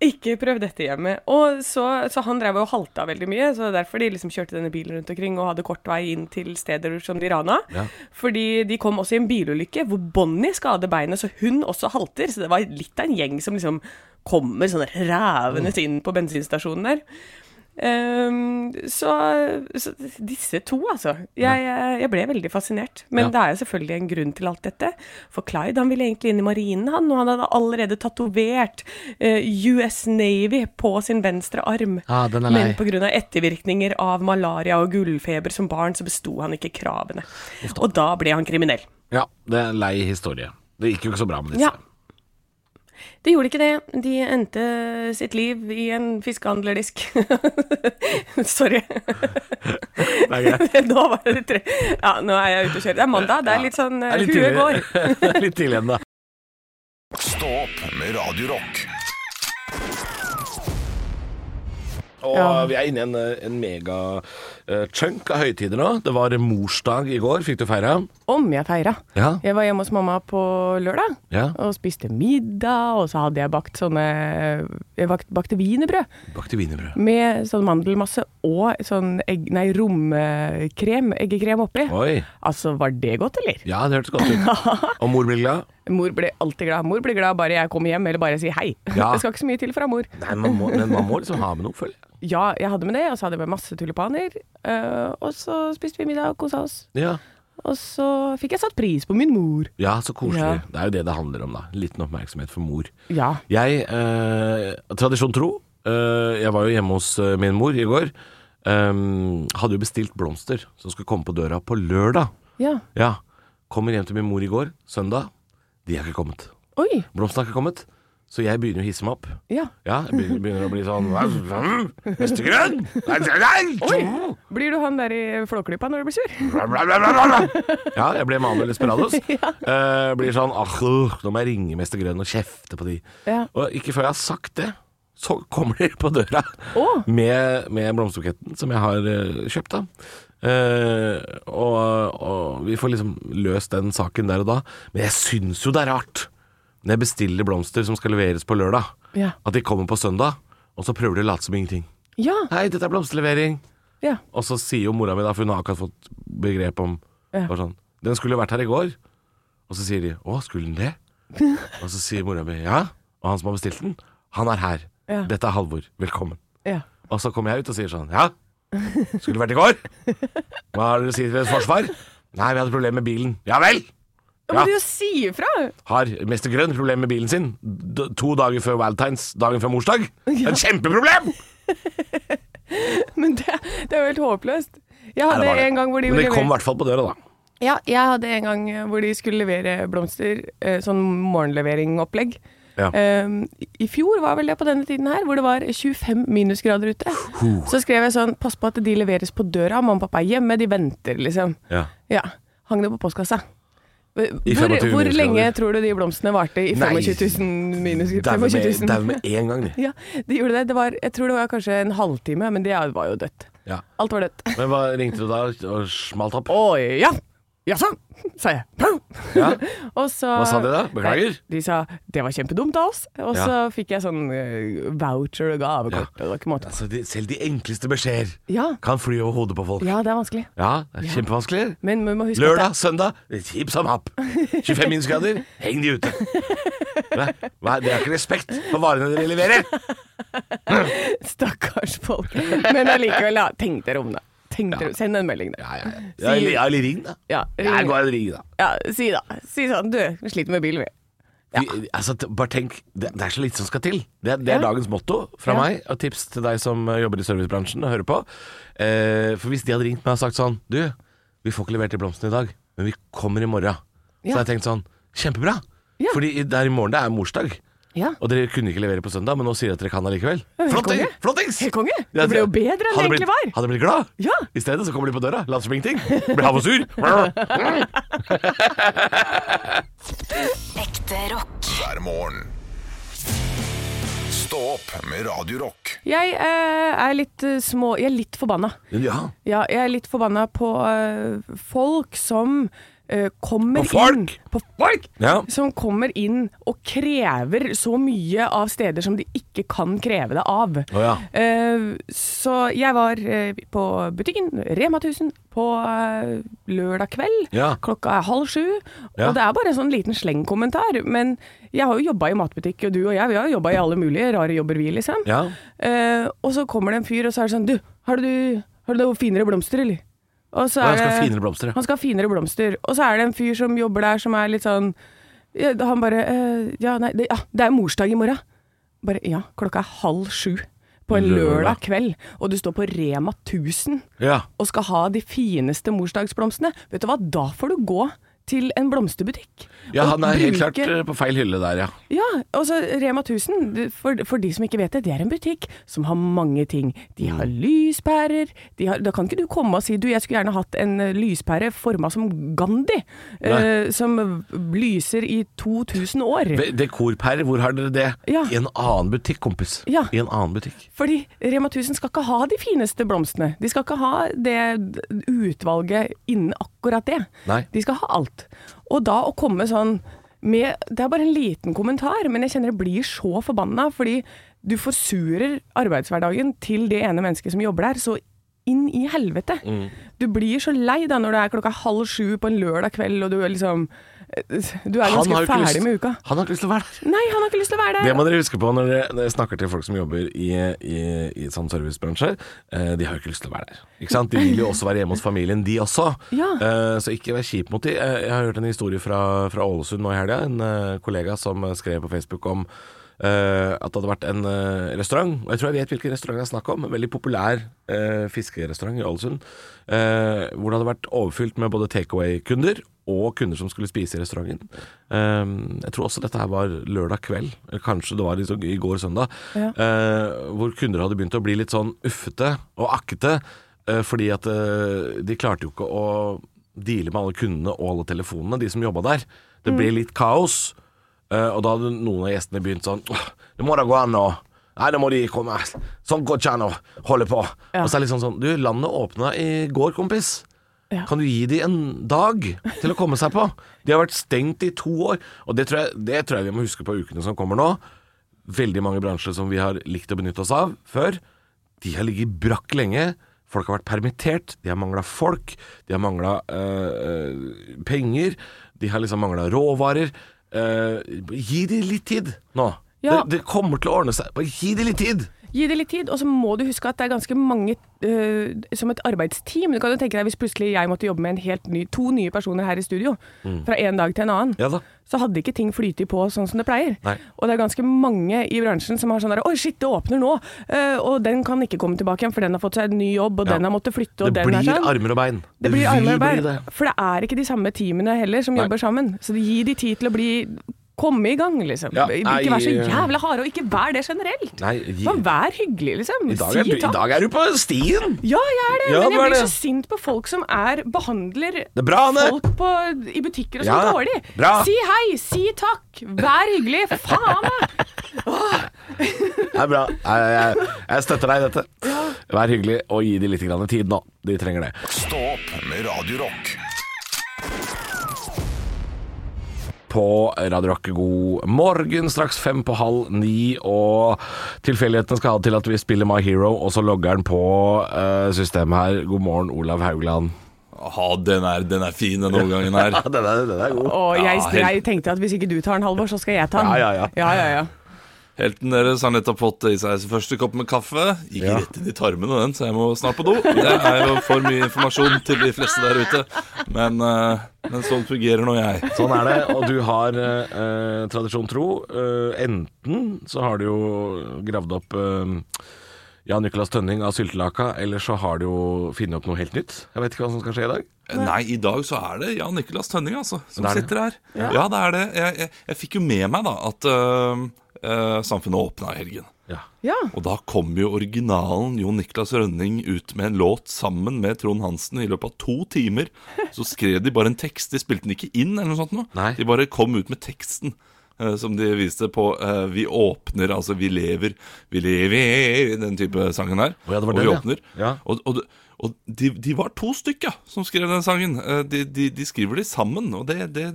Speaker 2: Ikke prøv dette hjemme. Og så, så han drev og halta veldig mye, så derfor de liksom kjørte denne bilen rundt omkring og hadde kort vei inn til steder som de rana.
Speaker 3: Ja.
Speaker 2: Fordi de kom også i en bilulykke hvor Bonnie skader beinet, så hun også halter. Så det var litt av en gjeng som liksom kommer sånn rævende inn på bensinstasjonen der. Ehm, så, så disse to, altså. Jeg, jeg ble veldig fascinert. Men
Speaker 3: Ja.
Speaker 2: det er jo selvfølgelig en grunn til alt dette. For Clyde han ville egentlig inn i marinen, han, og han hadde allerede tatovert eh, US Navy på sin venstre arm.
Speaker 3: Ah, den er lei.
Speaker 2: Men pga. ettervirkninger av malaria og gullfeber som barn, så besto han ikke kravene. Og da ble han kriminell.
Speaker 3: Ja, det er en lei historie. Det gikk jo ikke så bra med disse.
Speaker 2: Ja. De gjorde ikke det. De endte sitt liv i en fiskehandlerdisk. Sorry.
Speaker 3: Det er greit.
Speaker 2: nå var det tre Ja, nå er jeg ute og kjører. Det er mandag. Det er litt sånn
Speaker 3: Det er
Speaker 2: eh,
Speaker 3: litt
Speaker 2: Huet går.
Speaker 3: tidlig- det er litt tidlig ennå.
Speaker 1: Stå opp med Radio Rock.
Speaker 3: Og vi er inne i en, en mega eh, chunk av høytider nå. Det var morsdag i går. Fikk du feire?
Speaker 9: Om jeg feira.
Speaker 3: Ja.
Speaker 9: Jeg var hjemme hos mamma på lørdag
Speaker 3: Ja.
Speaker 9: og spiste middag, og så hadde jeg bakt sånne Jeg bakt, bakte wienerbrød
Speaker 3: Bakte wienerbrød.
Speaker 9: med sånn mandelmasse og sånn egg... Nei, romkrem, eggekrem oppi.
Speaker 3: Oi.
Speaker 9: Altså, var det godt, eller?
Speaker 3: Ja, det hørtes godt ut. Og mor blir glad?
Speaker 9: Mor blir alltid glad. Mor blir glad bare jeg kommer hjem, eller bare jeg sier hei.
Speaker 3: Ja.
Speaker 9: Det skal ikke så mye til fra mor.
Speaker 3: Nei, man må, men man må liksom ha med noe, føler jeg.
Speaker 9: Ja, jeg hadde med det, og så hadde jeg med masse tulipaner. øh, og så spiste vi middag og kosa oss.
Speaker 3: Ja.
Speaker 9: Og så fikk jeg satt pris på min mor.
Speaker 3: ja, så koselig.
Speaker 9: Ja.
Speaker 3: Det er jo det det handler om, da. Liten oppmerksomhet for mor.
Speaker 9: Ja.
Speaker 3: Jeg, eh, tradisjon tro, eh, jeg var jo hjemme hos eh, min mor i går. Um, hadde jo bestilt blomster som skulle komme på døra på lørdag.
Speaker 9: ja.
Speaker 3: Ja, kommer hjem til min mor i går, søndag. De har ikke kommet.
Speaker 9: Oi.
Speaker 3: Blomsten har ikke kommet. Så jeg begynner å hisse meg opp.
Speaker 9: Ja.
Speaker 3: Ja, jeg begynner, begynner å bli sånn Hestegrønn!
Speaker 9: Blir du han der i Flåklypa når du blir sur?
Speaker 3: Ja, jeg ble Manuel Esperados. Eh, blir sånn ah, øh, Nå må jeg ringe Mester Grønn og kjefte på de.
Speaker 9: Ja.
Speaker 3: Og ikke før jeg har sagt det, så kommer de på døra
Speaker 9: Å.
Speaker 3: med, med blomsterbuketten som jeg har eh, kjøpt, da. Eh, og, og vi får liksom løst den saken der og da. Men jeg syns jo det er rart, når jeg bestiller blomster som skal leveres på lørdag,
Speaker 9: Ja.
Speaker 3: at de kommer på søndag, og så prøver de å late som ingenting.
Speaker 9: Ja.
Speaker 3: Hei, dette er blomsterlevering.
Speaker 9: Ja.
Speaker 3: Og så sier jo mora mi da, for hun har akkurat fått begrep om
Speaker 9: Ja.
Speaker 3: bare sånn, Den skulle jo vært her i går. Og så sier de Å, skulle den det? og så sier mora mi ja. Og han som har bestilt den, han er her.
Speaker 9: Ja.
Speaker 3: Dette er Halvor. Velkommen.
Speaker 9: ja.
Speaker 3: Og så kommer jeg ut og sier sånn Ja, skulle vært i går. Hva har dere å si til deres forsvar? Nei, vi hadde problemer med bilen. Ja vel!
Speaker 9: Da må du jo si ifra!
Speaker 3: Har Mester Grønn problemer med bilen sin d to dager før Valentines, dagen før morsdag? Det er Et kjempeproblem!
Speaker 9: Men det, det er jo helt håpløst. Jeg
Speaker 3: Nei,
Speaker 9: hadde
Speaker 3: var det.
Speaker 9: en gang hvor de
Speaker 3: Men
Speaker 9: ville
Speaker 3: det kom i
Speaker 9: levere
Speaker 3: hvert fall på døra, da.
Speaker 9: Ja, jeg hadde en gang eh, hvor de skulle levere blomster, eh, sånn morgenleveringsopplegg.
Speaker 3: Ja.
Speaker 9: Eh, I fjor var vel det på denne tiden her, hvor det var 25 minusgrader ute. Så skrev jeg sånn, pass på at de leveres på døra, mamma og pappa er hjemme, de venter liksom.
Speaker 3: Ja.
Speaker 9: Ja, hang det på postkassa. Hvor,
Speaker 3: 25
Speaker 9: hvor lenge
Speaker 3: minusgrader.
Speaker 9: tror du de blomstene varte i
Speaker 3: Nei.
Speaker 9: 25 000 minus?
Speaker 3: Dau med,
Speaker 9: 25 000?
Speaker 3: dau med en gang, de.
Speaker 9: Ja, de gjorde det. det var, jeg tror det var kanskje en halvtime, men det var jo dødt.
Speaker 3: Ja.
Speaker 9: Alt var dødt.
Speaker 3: Men hva ringte du da og smalt opp?
Speaker 9: Oi, ja!
Speaker 2: Jaså, sa jeg. Pum!
Speaker 3: Ja.
Speaker 2: Og så,
Speaker 3: Hva sa de da? Beklager?
Speaker 2: Nei, De sa det var kjempedumt av oss. Og så fikk jeg sånn eh, voucher og gavekort. og Det var ikke måte. på.
Speaker 3: Altså, de, selv de enkleste beskjeder
Speaker 2: Ja.
Speaker 3: kan fly over hodet på folk.
Speaker 2: ja, det er vanskelig.
Speaker 3: Ja, det er kjempevanskelig.
Speaker 2: Men vi må huske
Speaker 3: Lørdag, søndag, hipp som happ. 25 minusgrader, heng de ute. Nei, hva- det er ikke respekt for varene dere leverer.
Speaker 2: at det er stakkars folk. Men allikevel, ja. Tenk dere om, da. Tenk dere, send en melding, da.
Speaker 3: Ja, ja, ja. Ja, eller, ja, eller ring, da.
Speaker 2: Ja,
Speaker 3: Ja,
Speaker 2: ring.
Speaker 3: gå og ring, da.
Speaker 2: ja, si da. Si sånn, du, vi sliter med bilen, vi.
Speaker 3: Vi, altså, t- bare tenk, det, det er så lite som skal til. Det, er- det er dagens motto fra meg, og tips til deg som eh, jobber i servicebransjen og hører på. Eh, for hvis de hadde ringt meg og sagt sånn Du, vi får ikke levert de blomstene i dag, men vi kommer i morgen. Så hadde jeg tenkt sånn Kjempebra!
Speaker 2: Ja.
Speaker 3: Fordi i- der i morgen det er morsdag.
Speaker 2: Ja.
Speaker 3: Og dere kunne ikke levere på søndag, men nå sier dere at dere kan allikevel. Flotting!
Speaker 2: konge.
Speaker 3: Flottings!
Speaker 2: Helt konge. Det ble jo bedre enn det
Speaker 3: Hadde
Speaker 2: egentlig
Speaker 3: blitt-
Speaker 2: var.
Speaker 3: Hadde blitt glad.
Speaker 2: Ja.
Speaker 3: I stedet så kommer de på døra, later som ingenting, blir hav og sur.
Speaker 8: Ekte rock.
Speaker 1: hver morgen. Stå opp med Radio Rock.
Speaker 2: Jeg eh, er litt eh, små Jeg er litt forbanna.
Speaker 3: Ja.
Speaker 2: Ja, jeg er litt forbanna på eh, folk som eh, kommer
Speaker 3: På folk?
Speaker 2: inn På folk!
Speaker 3: Ja.
Speaker 2: Som kommer inn og krever så mye av steder som de ikke kan kreve det av.
Speaker 3: Å ja.
Speaker 2: Eh, så jeg var eh, på butikken, Rema 1000, på eh, lørdag kveld.
Speaker 3: Ja.
Speaker 2: Klokka er halv sju.
Speaker 3: Ja.
Speaker 2: Og det er bare en sånn liten slengkommentar. Men jeg har jo jobba i matbutikk, og du og jeg vi har jo jobba i alle mulige rare jobber, vi, liksom.
Speaker 3: Ja.
Speaker 2: Eh, og så kommer det en fyr, og så er det sånn Du, har du, har du noe finere blomster, eller? Og så
Speaker 3: Og han
Speaker 2: er
Speaker 3: skal ha
Speaker 2: det-
Speaker 3: finere blomster, ja.
Speaker 2: Han skal ha finere blomster. Og så er det en fyr som jobber der, som er litt sånn ja, Han bare eh, Ja, nei, det, ja, det er morsdag i morgen. Bare Ja, klokka er halv sju på en
Speaker 3: Lørdag.
Speaker 2: lørdag kveld, og du står på Rema 1000
Speaker 3: ja.
Speaker 2: og skal ha de fineste morsdagsblomstene. Vet du hva, da får du gå til en blomsterbutikk.
Speaker 3: Ja,
Speaker 2: og
Speaker 3: han er helt
Speaker 2: bruke-
Speaker 3: klart eh, på feil hylle der, ja.
Speaker 2: ja, altså Rema 1000, du- for, for de som ikke vet det, det er en butikk som har mange ting. De har lyspærer, de har, da kan ikke du komme og si du, jeg skulle gjerne hatt en eh, lyspære forma som Gandhi, eh, som v- lyser i 2000 år.
Speaker 3: Ve- Dekorpærer, hvor har dere det?
Speaker 2: Ja.
Speaker 3: I en annen butikk, kompis.
Speaker 2: Ja.
Speaker 3: I en annen butikk.
Speaker 2: Fordi Rema 1000 skal ikke ha de fineste blomstene. De skal ikke ha det utvalget innen akkurat det.
Speaker 3: Nei.
Speaker 2: De skal ha alt. Og da å komme sånn med Det er bare en liten kommentar, men jeg kjenner det blir så forbanna, fordi du forsurer arbeidshverdagen til det ene mennesket som jobber der, så inn i helvete.
Speaker 3: Mm.
Speaker 2: Du blir så lei da når det er klokka halv sju på en lørdag kveld, og du er liksom Du er
Speaker 3: har
Speaker 2: ganske
Speaker 3: jo ikke
Speaker 2: ferdig
Speaker 3: lyst-
Speaker 2: med uka.
Speaker 3: Han har ikke lyst til å være der.
Speaker 2: Nei, han har ikke lyst til å være
Speaker 3: Det
Speaker 2: der.
Speaker 3: må dere huske på når dere, når dere snakker til folk som jobber i, i, i sånn servicebransje. Eh, de har jo ikke lyst til å være der. Ikke sant? De vil jo også være hjemme hos familien, de også.
Speaker 2: Ja.
Speaker 3: Eh, så ikke vær kjip mot de. Eh, jeg har hørt en historie fra, fra Ålesund nå i helga. En eh, kollega som eh, skrev på Facebook om eh, at det hadde vært en eh, restaurant, og jeg tror jeg vet hvilken restaurant det er snakk om, en veldig populær eh, fiskerestaurant i Ålesund, eh, hvor det hadde vært overfylt med både takeaway-kunder og kunder som skulle spise i restauranten. Ehm, jeg tror også dette her var lørdag kveld, eller kanskje det var i, i går søndag, eh, hvor kunder hadde begynt å bli litt sånn uffete og akkete, eh, fordi at eh, de klarte jo ikke å deale med alle kundene og alle telefonene, de som jobba der. Det ble litt kaos, eh, og da hadde noen av gjestene begynt sånn «Åh, Det må da gå an å Nei, nå må de komme. Sånn går ikke an å holde på. Og så er det liksom sånn Du, landet åpna i går, kompis.
Speaker 2: Ja.
Speaker 3: Kan du gi de en dag til å komme seg på? De har vært stengt i to år, og det tror jeg, det tror jeg vi må huske på ukene som kommer nå. Veldig mange bransjer som vi har likt å benytte oss av før, de har ligget brakk lenge. Folk har vært permittert, de har mangla folk, de har mangla penger, de har liksom mangla råvarer. Eh, gi de litt tid nå.
Speaker 2: Ja.
Speaker 3: Det, det kommer til å ordne seg. Bare gi de litt tid!
Speaker 2: Gi det litt tid, og så må du huske at det er ganske mange øh, som et arbeidsteam. Du kan jo tenke deg hvis plutselig jeg måtte jobbe med en helt ny, to nye personer her i studio, fra en dag til en annen,
Speaker 3: Mm. Ja da.
Speaker 2: så hadde ikke ting flytet på sånn som det pleier.
Speaker 3: Nei.
Speaker 2: Og det er ganske mange i bransjen som har sånn der Oi, shit, det åpner nå! eh, og den kan ikke komme tilbake igjen, for den har fått seg en ny jobb, og
Speaker 3: Ja.
Speaker 2: den har måttet flytte, og
Speaker 3: Det
Speaker 2: den
Speaker 3: blir
Speaker 2: er sånn.
Speaker 3: armer og bein.
Speaker 2: Det blir
Speaker 3: vil
Speaker 2: arbeid,
Speaker 3: bli det.
Speaker 2: for det er ikke de samme teamene heller som
Speaker 3: Nei.
Speaker 2: jobber sammen. Så det gir de tid til å bli komme i gang, liksom.
Speaker 3: Ja, nei,
Speaker 2: ikke vær så
Speaker 3: eh,
Speaker 2: jævla harde, og ikke vær det generelt.
Speaker 3: Nei, gi-
Speaker 2: Men vær hyggelig, liksom.
Speaker 3: I dag, er du,
Speaker 2: si
Speaker 3: I
Speaker 2: takk.
Speaker 3: dag er du på stien!
Speaker 2: Ja, jeg er det,
Speaker 3: Ja,
Speaker 2: men
Speaker 3: du
Speaker 2: jeg
Speaker 3: er
Speaker 2: blir
Speaker 3: det.
Speaker 2: så sint på folk som er behandler
Speaker 3: er bra, Anne.
Speaker 2: folk på, i butikker og sånn
Speaker 3: Ja,
Speaker 2: dårlig.
Speaker 3: bra.
Speaker 2: Si hei, si takk, vær hyggelig. Faen meg!
Speaker 3: Det er bra. Jeg, jeg, jeg støtter deg i dette. Vær hyggelig og gi de litt grann tid nå. De trenger det.
Speaker 1: Stå opp med Radio Rock.
Speaker 3: på Radio Rock. God morgen, straks fem på halv ni, og tilfeldighetene skal ha det til at vi spiller My Hero, og så logger den på eh, systemet her. God morgen, Olav Haugland.
Speaker 10: Ha, den, er, den er fin, den overgangen her.
Speaker 3: Ja, den er, god.
Speaker 2: Og jeg,
Speaker 10: Ja, helt-
Speaker 2: jeg tenkte at hvis ikke du tar den, Halvor, så skal jeg ta den.
Speaker 3: Ja, ja, ja.
Speaker 2: ja, ja.
Speaker 10: Helten deres har nettopp fått i seg sin første kopp med kaffe. Gikk rett inn i tarmene, den, så jeg må snart på do. Det er jo for mye informasjon til de fleste der ute. Men, eh, men sånn fungerer nå jeg.
Speaker 3: Sånn er det, og du har eh, eh, tradisjon tro. eh, enten så har du jo gravd opp eh, Jan Nicolas Tønning av Syltelaka, eller så har du jo funnet opp noe helt nytt. Jeg vet ikke hva som skal skje i dag.
Speaker 10: Nei, i dag så er det Jan Nicolas Tønning, altså,
Speaker 3: Det
Speaker 10: som
Speaker 3: er det.
Speaker 10: sitter her. Ja. det er det. Jeg, jeg, jeg fikk jo med meg da at eh, eh, samfunnet åpna i helgen.
Speaker 3: Ja.
Speaker 2: ja.
Speaker 10: Og da kom jo originalen Jon Niklas Rønning ut med en låt sammen med Trond Hansen i løpet av to timer. Så skrev de bare en tekst. De spilte den ikke inn eller noe sånt noe.
Speaker 3: Nei.
Speaker 10: De bare kom ut med teksten. eh, Som de viste på eh, 'Vi åpner', altså 'Vi lever', 'Vi lever' den type sangen her.
Speaker 3: Å ja, det var
Speaker 10: og
Speaker 3: den, ja.
Speaker 10: vi åpner.
Speaker 3: Ja.
Speaker 10: Og, og, og de, de var to stykker som skrev den sangen. Eh, De, de, de skriver de sammen, og det, det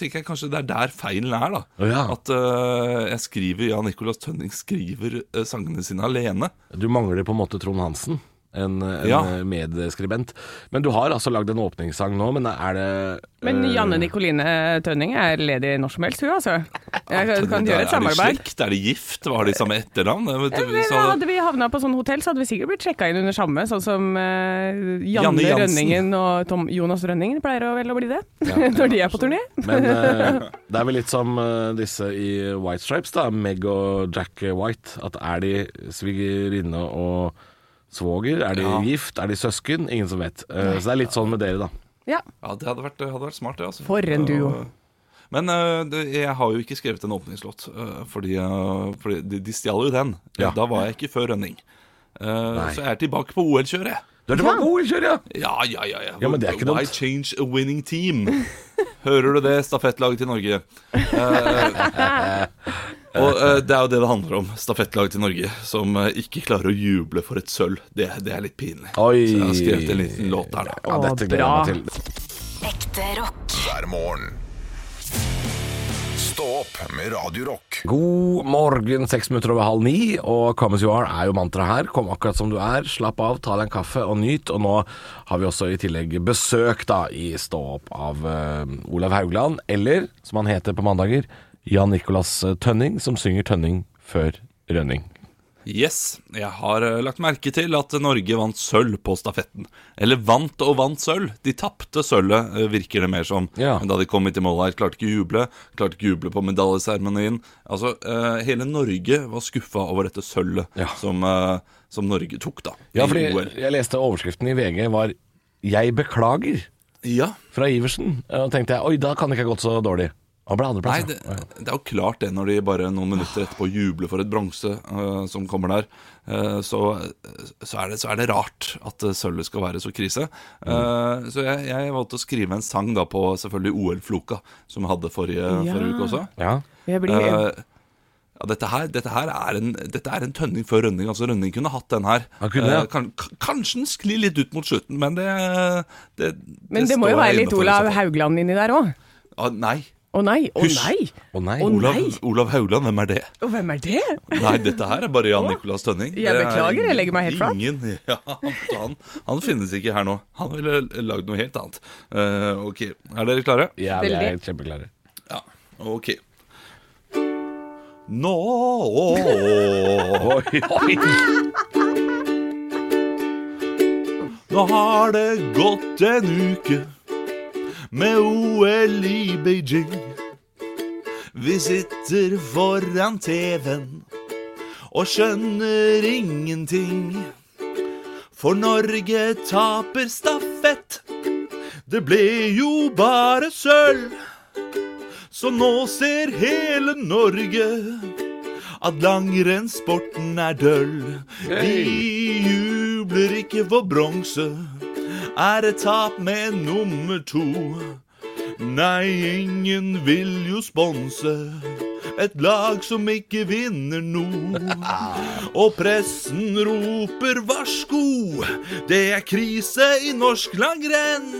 Speaker 10: tenker jeg kanskje det er der feilen er, da.
Speaker 3: Å ja.
Speaker 10: At eh, jeg skriver, ja, Nicolas Tønning skriver eh, sangene sine alene.
Speaker 3: Du mangler på en måte Trond Hansen, en, en
Speaker 10: Ja.
Speaker 3: medskribent. Men du har altså lagd en åpningssang nå, men er det
Speaker 2: Men
Speaker 3: eh,
Speaker 2: Janne Nikoline Tønning er ledig når som helst, hun altså. Jeg
Speaker 10: Er
Speaker 2: kan
Speaker 10: de-
Speaker 2: gjøre et
Speaker 10: Er de
Speaker 2: samarbeid.
Speaker 10: slekt? Er de gift? Har de samme etternavn? Jeg vet ikke, så-
Speaker 2: hadde vi havna på sånn hotell, så hadde vi sikkert blitt sjekka inn under samme, sånn som eh, Janne,
Speaker 10: Janne Jansen.
Speaker 2: Rønningen og Tom, Jonas Rønningen pleier å vel å bli det, når de er på turné.
Speaker 3: Men eh, det er vel litt som eh, disse i White Stripes, da. Meg og Jack White. At er de svigerinne og svoger? Er de gift? Er de søsken? Ingen som vet. Eh, så det er litt sånn med dere, da.
Speaker 2: Ja.
Speaker 10: Ja, det hadde vært, det hadde vært smart, det. Altså.
Speaker 2: For en duo.
Speaker 10: Ja. Men eh, det, jeg har jo ikke skrevet en åpningslåt, eh, fordi, eh, fordi de, de stjal jo den.
Speaker 3: Ja.
Speaker 10: Da var jeg ikke før Rønning. Eh, så jeg er tilbake på OL-kjøret.
Speaker 3: Du er tilbake på OL-kjøret, ja!
Speaker 10: Ja, ja, ja, ja.
Speaker 3: Ja, men det er ikke
Speaker 10: Why
Speaker 3: dumt.
Speaker 10: change a winning team? Hører du det, stafettlaget til Norge? Eh, og eh, det er jo det det handler om. Stafettlaget til Norge som eh, ikke klarer å juble for et sølv. Det, det er litt pinlig.
Speaker 3: Oi.
Speaker 10: Så jeg har skrevet en liten låt der, da.
Speaker 3: Ja, dette gleder
Speaker 2: bra.
Speaker 3: jeg meg til.
Speaker 8: Ekte rock.
Speaker 1: hver morgen. Stå opp med Radio Rock.
Speaker 3: God morgen, seks minutter over halv ni, og come as you are er jo mantra her. Kom akkurat som du er, slapp av, ta deg en kaffe og nyt. Og nå har vi også i tillegg besøk da i Stå opp av eh, Olav Haugland, eller som han heter på mandager, Jan Nicolas eh, Tønning, som synger Tønning før Rønning.
Speaker 10: Yes, jeg har eh, lagt merke til at Norge vant sølv på stafetten. Eller vant og vant sølv. De tapte sølvet, eh, virker det mer som.
Speaker 3: Ja.
Speaker 10: Men da de kom hit i mål her, klarte ikke å juble. Klarte ikke å juble på medaljeseremonien. Altså, eh, hele Norge var skuffa over dette sølvet
Speaker 3: Ja.
Speaker 10: som, eh, som Norge tok, da.
Speaker 3: Ja,
Speaker 10: i
Speaker 3: fordi
Speaker 10: OL.
Speaker 3: jeg leste overskriften i VG var 'Jeg beklager'
Speaker 10: Ja.
Speaker 3: fra Iversen. Og tenkte jeg 'oi, da kan det ikke ha gått så dårlig'. Han ble
Speaker 10: Nei,
Speaker 3: andreplass.
Speaker 10: det,
Speaker 3: ja.
Speaker 10: det er jo klart det når de bare noen minutter etterpå jubler for et bronse eh, som kommer der. eh, så, så, er det, så er det rart at eh, sølvet skal være så krise. Eh,
Speaker 2: Mm.
Speaker 10: så jeg, jeg valgte å skrive en sang da på selvfølgelig OL-floka, som jeg hadde forrige,
Speaker 2: Ja.
Speaker 10: forrige uke også.
Speaker 3: Ja.
Speaker 2: Jeg blir
Speaker 10: Eh, ja, dette her, dette her er en, dette er en tønning før Rønning. Altså Rønning kunne hatt den her.
Speaker 3: Han kunne, ja.
Speaker 10: Eh, kan, k- kanskje den sklir litt ut mot slutten, men det, det,
Speaker 2: Men det, må jo
Speaker 10: står jeg
Speaker 2: være
Speaker 10: inne
Speaker 2: litt
Speaker 10: for i
Speaker 2: Olav
Speaker 10: så fall.
Speaker 2: Haugland inni der òg.
Speaker 10: Ah, nei.
Speaker 2: Å nei, å
Speaker 10: Hysj.
Speaker 2: nei.
Speaker 3: Å nei.
Speaker 2: Å
Speaker 10: Olav,
Speaker 2: nei.
Speaker 10: Olav Haugland, hvem er det?
Speaker 2: Og hvem er det?
Speaker 10: Nei, dette her er bare Jan Nicolas Tønning.
Speaker 2: Jeg
Speaker 10: Det er
Speaker 2: beklager, jeg legger meg helt flat.
Speaker 10: Ingen, ja, han, han finnes ikke her nå. Han ville lagd noe helt annet. Eh, ok, er dere klare?
Speaker 3: Ja, vi er
Speaker 2: Veldig.
Speaker 3: kjempeklare.
Speaker 10: Ja, ok. Nå
Speaker 3: Oi, oi.
Speaker 10: Nå har det gått en uke med OL i Beijing. Vi sitter foran TV-en og skjønner ingenting. For Norge taper stafett. Det ble jo bare sølv. Så nå ser hele Norge at langrennssporten er døll. Vi jubler ikke for bronse. Er det tap med nummer to? Nei, ingen vil jo sponse et lag som ikke vinner noe. Og pressen roper varsko, det er krise i norsk langrenn.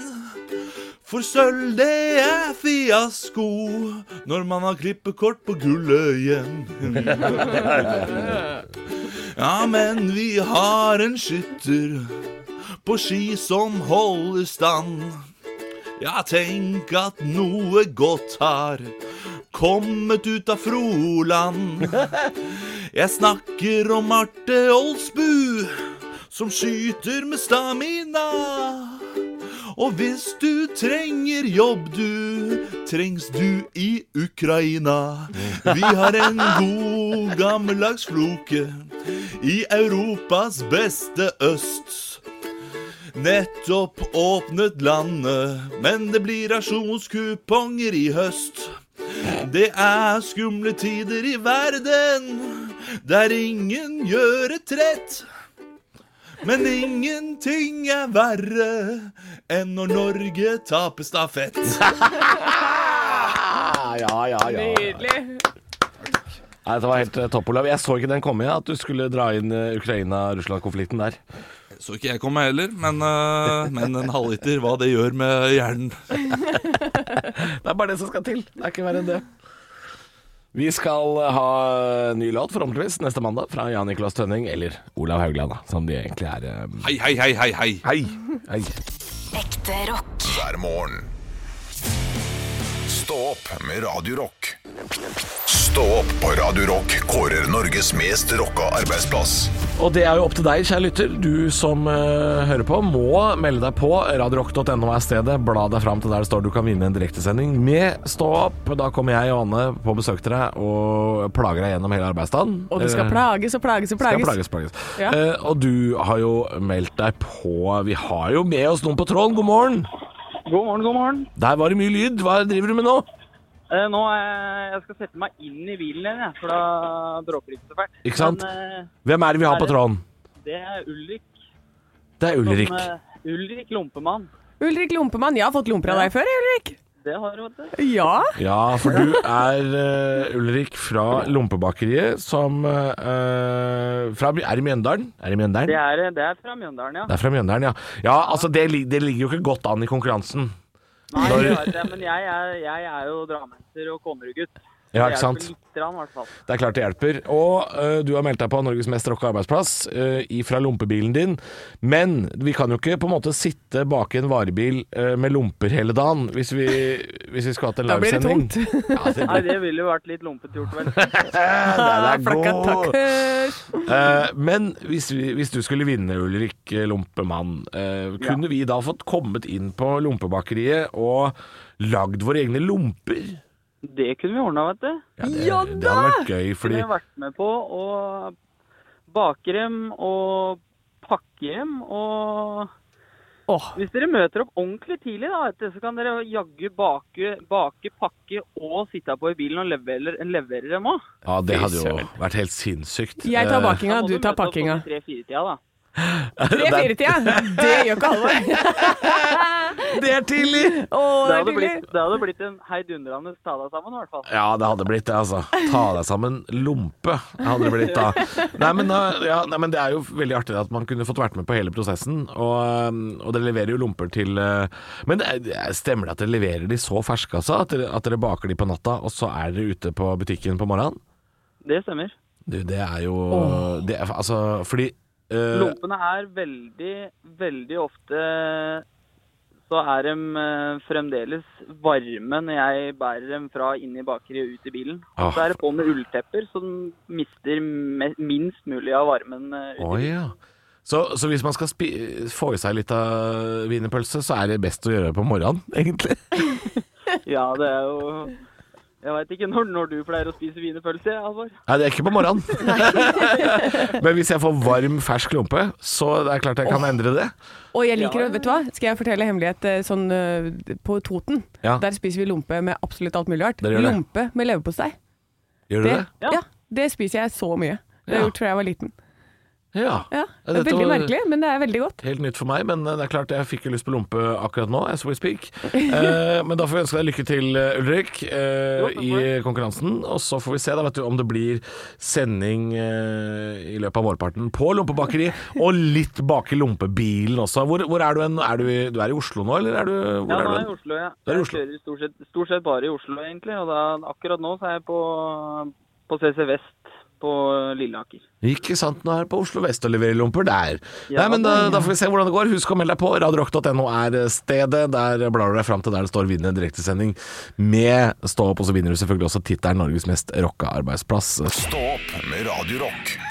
Speaker 10: For sølv, det er fiasko når man har klippekort på gullet igjen. Ja, men vi har en skytter på ski som holder stand. Ja, tenk at noe godt har kommet ut av Froland. Jeg snakker om Marte Olsbu, som skyter med stamina. Og hvis du trenger jobb, du, trengs du i Ukraina. Vi har en god, gammeldags floke i Europas beste øst. Nettopp åpnet landet, men det blir rasjonskuponger i høst. Det er skumle tider i verden, der ingen gjør et rett. Men ingenting er verre enn når Norge taper stafett.
Speaker 2: Nydelig.
Speaker 3: Nei, det var helt eh, topp, Olav. Jeg så ikke den komme, jeg, at du skulle dra inn eh, Ukraina-Russland-konflikten der.
Speaker 10: Så ikke jeg komme heller, men, eh, men en halvliter, hva det gjør med hjernen.
Speaker 3: Det er bare det som skal til. Det er ikke verre enn det. Vi skal eh, ha ny låt, forhåpentligvis, neste mandag fra Jan Niklas Tønning, eller Olav Haugland, da, som de egentlig er. eh,
Speaker 10: Hei, hei, hei, hei, hei.
Speaker 3: Hei! Hei.
Speaker 8: Ekte rock.
Speaker 1: hver morgen. Stå opp med Radio Rock. Stå opp på Radio Rock kårer Norges mest rocka arbeidsplass
Speaker 3: Og det er jo opp til deg, kjære lytter. Du som eh, hører på, må melde deg på. Radiorock.no er stedet. Bla deg fram til der det står du kan vinne en direktesending med Stå opp. Da kommer jeg og Anne på besøk til deg og plager deg gjennom hele arbeidsdagen.
Speaker 2: Og det skal
Speaker 3: Eh,
Speaker 2: plages og plages og
Speaker 3: skal
Speaker 2: plages.
Speaker 3: plages, plages.
Speaker 2: Ja.
Speaker 3: Eh, og du har jo meldt deg på Vi har jo med oss noen på tråden. God morgen!
Speaker 7: God morgen, god morgen.
Speaker 3: Der var det mye lyd. Hva driver du med nå?
Speaker 7: Eh, nå er jeg, jeg skal sette meg inn i bilen igjen, jeg, for da bråker det ikke så fælt.
Speaker 3: Ikke sant?
Speaker 7: Men, eh,
Speaker 3: Hvem er det vi har på tråden?
Speaker 7: det er Ulrik.
Speaker 3: Det er Ulrik.
Speaker 7: Som, eh, Ulrik Lompemann.
Speaker 2: Ulrik Lompemann, jeg har fått lomper av deg før, Ulrik.
Speaker 7: Det har du, vet du.
Speaker 2: Ja.
Speaker 3: Ja, for du er eh, Ulrik fra Lompebakeriet, som eh, fra, Er i Mjøndalen? Er i
Speaker 7: Det
Speaker 3: Mjøndalen?
Speaker 7: er, det er fra Mjøndalen, ja.
Speaker 3: Det er fra Mjøndalen, ja. Ja, altså, det, lig- det ligger jo ikke godt an i konkurransen.
Speaker 7: Nei,
Speaker 3: Når-
Speaker 7: det er det, men jeg er, jeg er jo drammenser og konnerudgutt.
Speaker 3: Ja, ikke
Speaker 7: Det hjelper
Speaker 3: sant?
Speaker 7: Litt, rann, i hvert fall.
Speaker 3: Det er klart det hjelper. Og eh, du har meldt deg på Norges mest rocka arbeidsplass eh, ifra lompebilen din. Men vi kan jo ikke på en måte sitte bak i en varebil eh, med lomper hele dagen hvis vi, hvis vi skulle hatt en
Speaker 2: Da blir det
Speaker 3: livesending.
Speaker 2: tungt.
Speaker 3: Ja, det,
Speaker 7: Nei, det ville jo vært litt lompete gjort, vel.
Speaker 3: den er
Speaker 2: Flakka
Speaker 3: god.
Speaker 2: takkers.
Speaker 3: Eh, men hvis, vi, hvis du skulle vinne, Ulrik eh, Lompemann, eh, kunne vi da fått kommet inn på lompebakeriet og lagd våre egne lomper?
Speaker 7: Det kunne vi ordna, vet du.
Speaker 3: Ja, det,
Speaker 2: Ja
Speaker 3: det hadde vært gøy, fordi
Speaker 7: Kunne vi vært med på å bake dem og pakke dem og
Speaker 2: Åh,
Speaker 7: Hvis dere møter opp ordentlig tidlig, da, vet du, så kan dere jaggu bake, bake, pakke og sitte på i bilen og levere, levere dem òg.
Speaker 3: ja, det hadde jo vært helt sinnssykt.
Speaker 2: jeg tar bakinga, du tar pakkinga.
Speaker 7: Tre-fire-tida, da.
Speaker 3: Der-
Speaker 2: Tre-fire-tida, det gjør ikke Halvor.
Speaker 3: Det er tidlig!
Speaker 2: Å, det
Speaker 7: Det
Speaker 2: er
Speaker 7: hadde
Speaker 2: tidlig.
Speaker 7: blitt, det hadde blitt en heidundrende ta deg sammen, i hvert fall.
Speaker 3: Ja, det hadde blitt det, altså. Ta deg sammen lompe hadde det blitt da. Nei men, da- ja, nei, men det er jo veldig artig at man kunne fått vært med på hele prosessen. Og, øhm, og dere leverer jo lomper til øh, Men det er- det er- stemmer det at dere leverer de så ferske, altså? At dere, at dere baker de på natta, og så er dere ute på butikken på morgenen?
Speaker 7: Det stemmer.
Speaker 3: Du, det er jo det er, Altså, fordi
Speaker 2: Eh.
Speaker 3: øh,
Speaker 7: Lompene er veldig, veldig ofte Så er de eh, fremdeles varme når jeg bærer dem fra inn i bakeriet og ut i bilen. Og så
Speaker 3: Ah.
Speaker 7: er det på med ulltepper, så den mister me minst mulig av varmen. eh, ut i
Speaker 3: Å ja. Så, så hvis man skal spi få i seg litt av wienerpølse, så er det best å gjøre det på morgenen, egentlig?
Speaker 7: Ja, det er jo Jeg veit ikke når, når du pleier å spise wienerpølse, jeg, Halvor.
Speaker 3: Nei, det er ikke på morgenen. Men hvis jeg får varm, fersk lompe, så det er klart jeg kan endre det.
Speaker 2: Og jeg liker det, vet du hva? Skal jeg fortelle hemmelighet eh, sånn eh, på Toten?
Speaker 3: Ja.
Speaker 2: Der spiser vi lompe med absolutt alt mulig rart.
Speaker 3: Dere gjør det.
Speaker 2: Lompe med leverpostei.
Speaker 3: Gjør du det?
Speaker 2: Ja. det spiser jeg så mye. Det har jeg gjort fra jeg var liten.
Speaker 3: Ja.
Speaker 2: Ja,
Speaker 3: Ja,
Speaker 2: det
Speaker 3: dette
Speaker 2: er veldig
Speaker 3: var-
Speaker 2: merkelig, men det er veldig godt.
Speaker 3: Helt nytt for meg, men eh, det er klart jeg fikk jo lyst på lompe akkurat nå, as we speak. Eh, men da får vi ønske deg lykke til, eh, Ulrik, eh, i konkurransen. Og så får vi se da, vet du, om det blir sending eh, i løpet av vårparten på lompebakeri, og litt bak i lompebilen også. Hvor, hvor er du hen? Er du, i, du er i Oslo nå, eller er du hvor
Speaker 7: Ja,
Speaker 3: er du
Speaker 7: nå er jeg
Speaker 3: hen?
Speaker 7: i Oslo, ja.
Speaker 3: Da er du i
Speaker 7: Jeg
Speaker 3: Oslo.
Speaker 7: kjører stort sett, stort sett bare i Oslo, egentlig. Og da, akkurat nå så er jeg på, på CC Vest på Lilleaker.
Speaker 3: Ikke sant, nå er jeg på Oslo Vest og leverer lomper der.
Speaker 7: Ja,
Speaker 3: Nei, men eh, da, da får vi se hvordan det går. Husk å melde deg på. Radiorock.no er eh, stedet. Der blar du deg fram til der det står 'Vinn en direktesending' med Stå opp, og så vinner du selvfølgelig også tittelen 'Norges mest rocka arbeidsplass'.
Speaker 1: Stå opp med Radio Rock.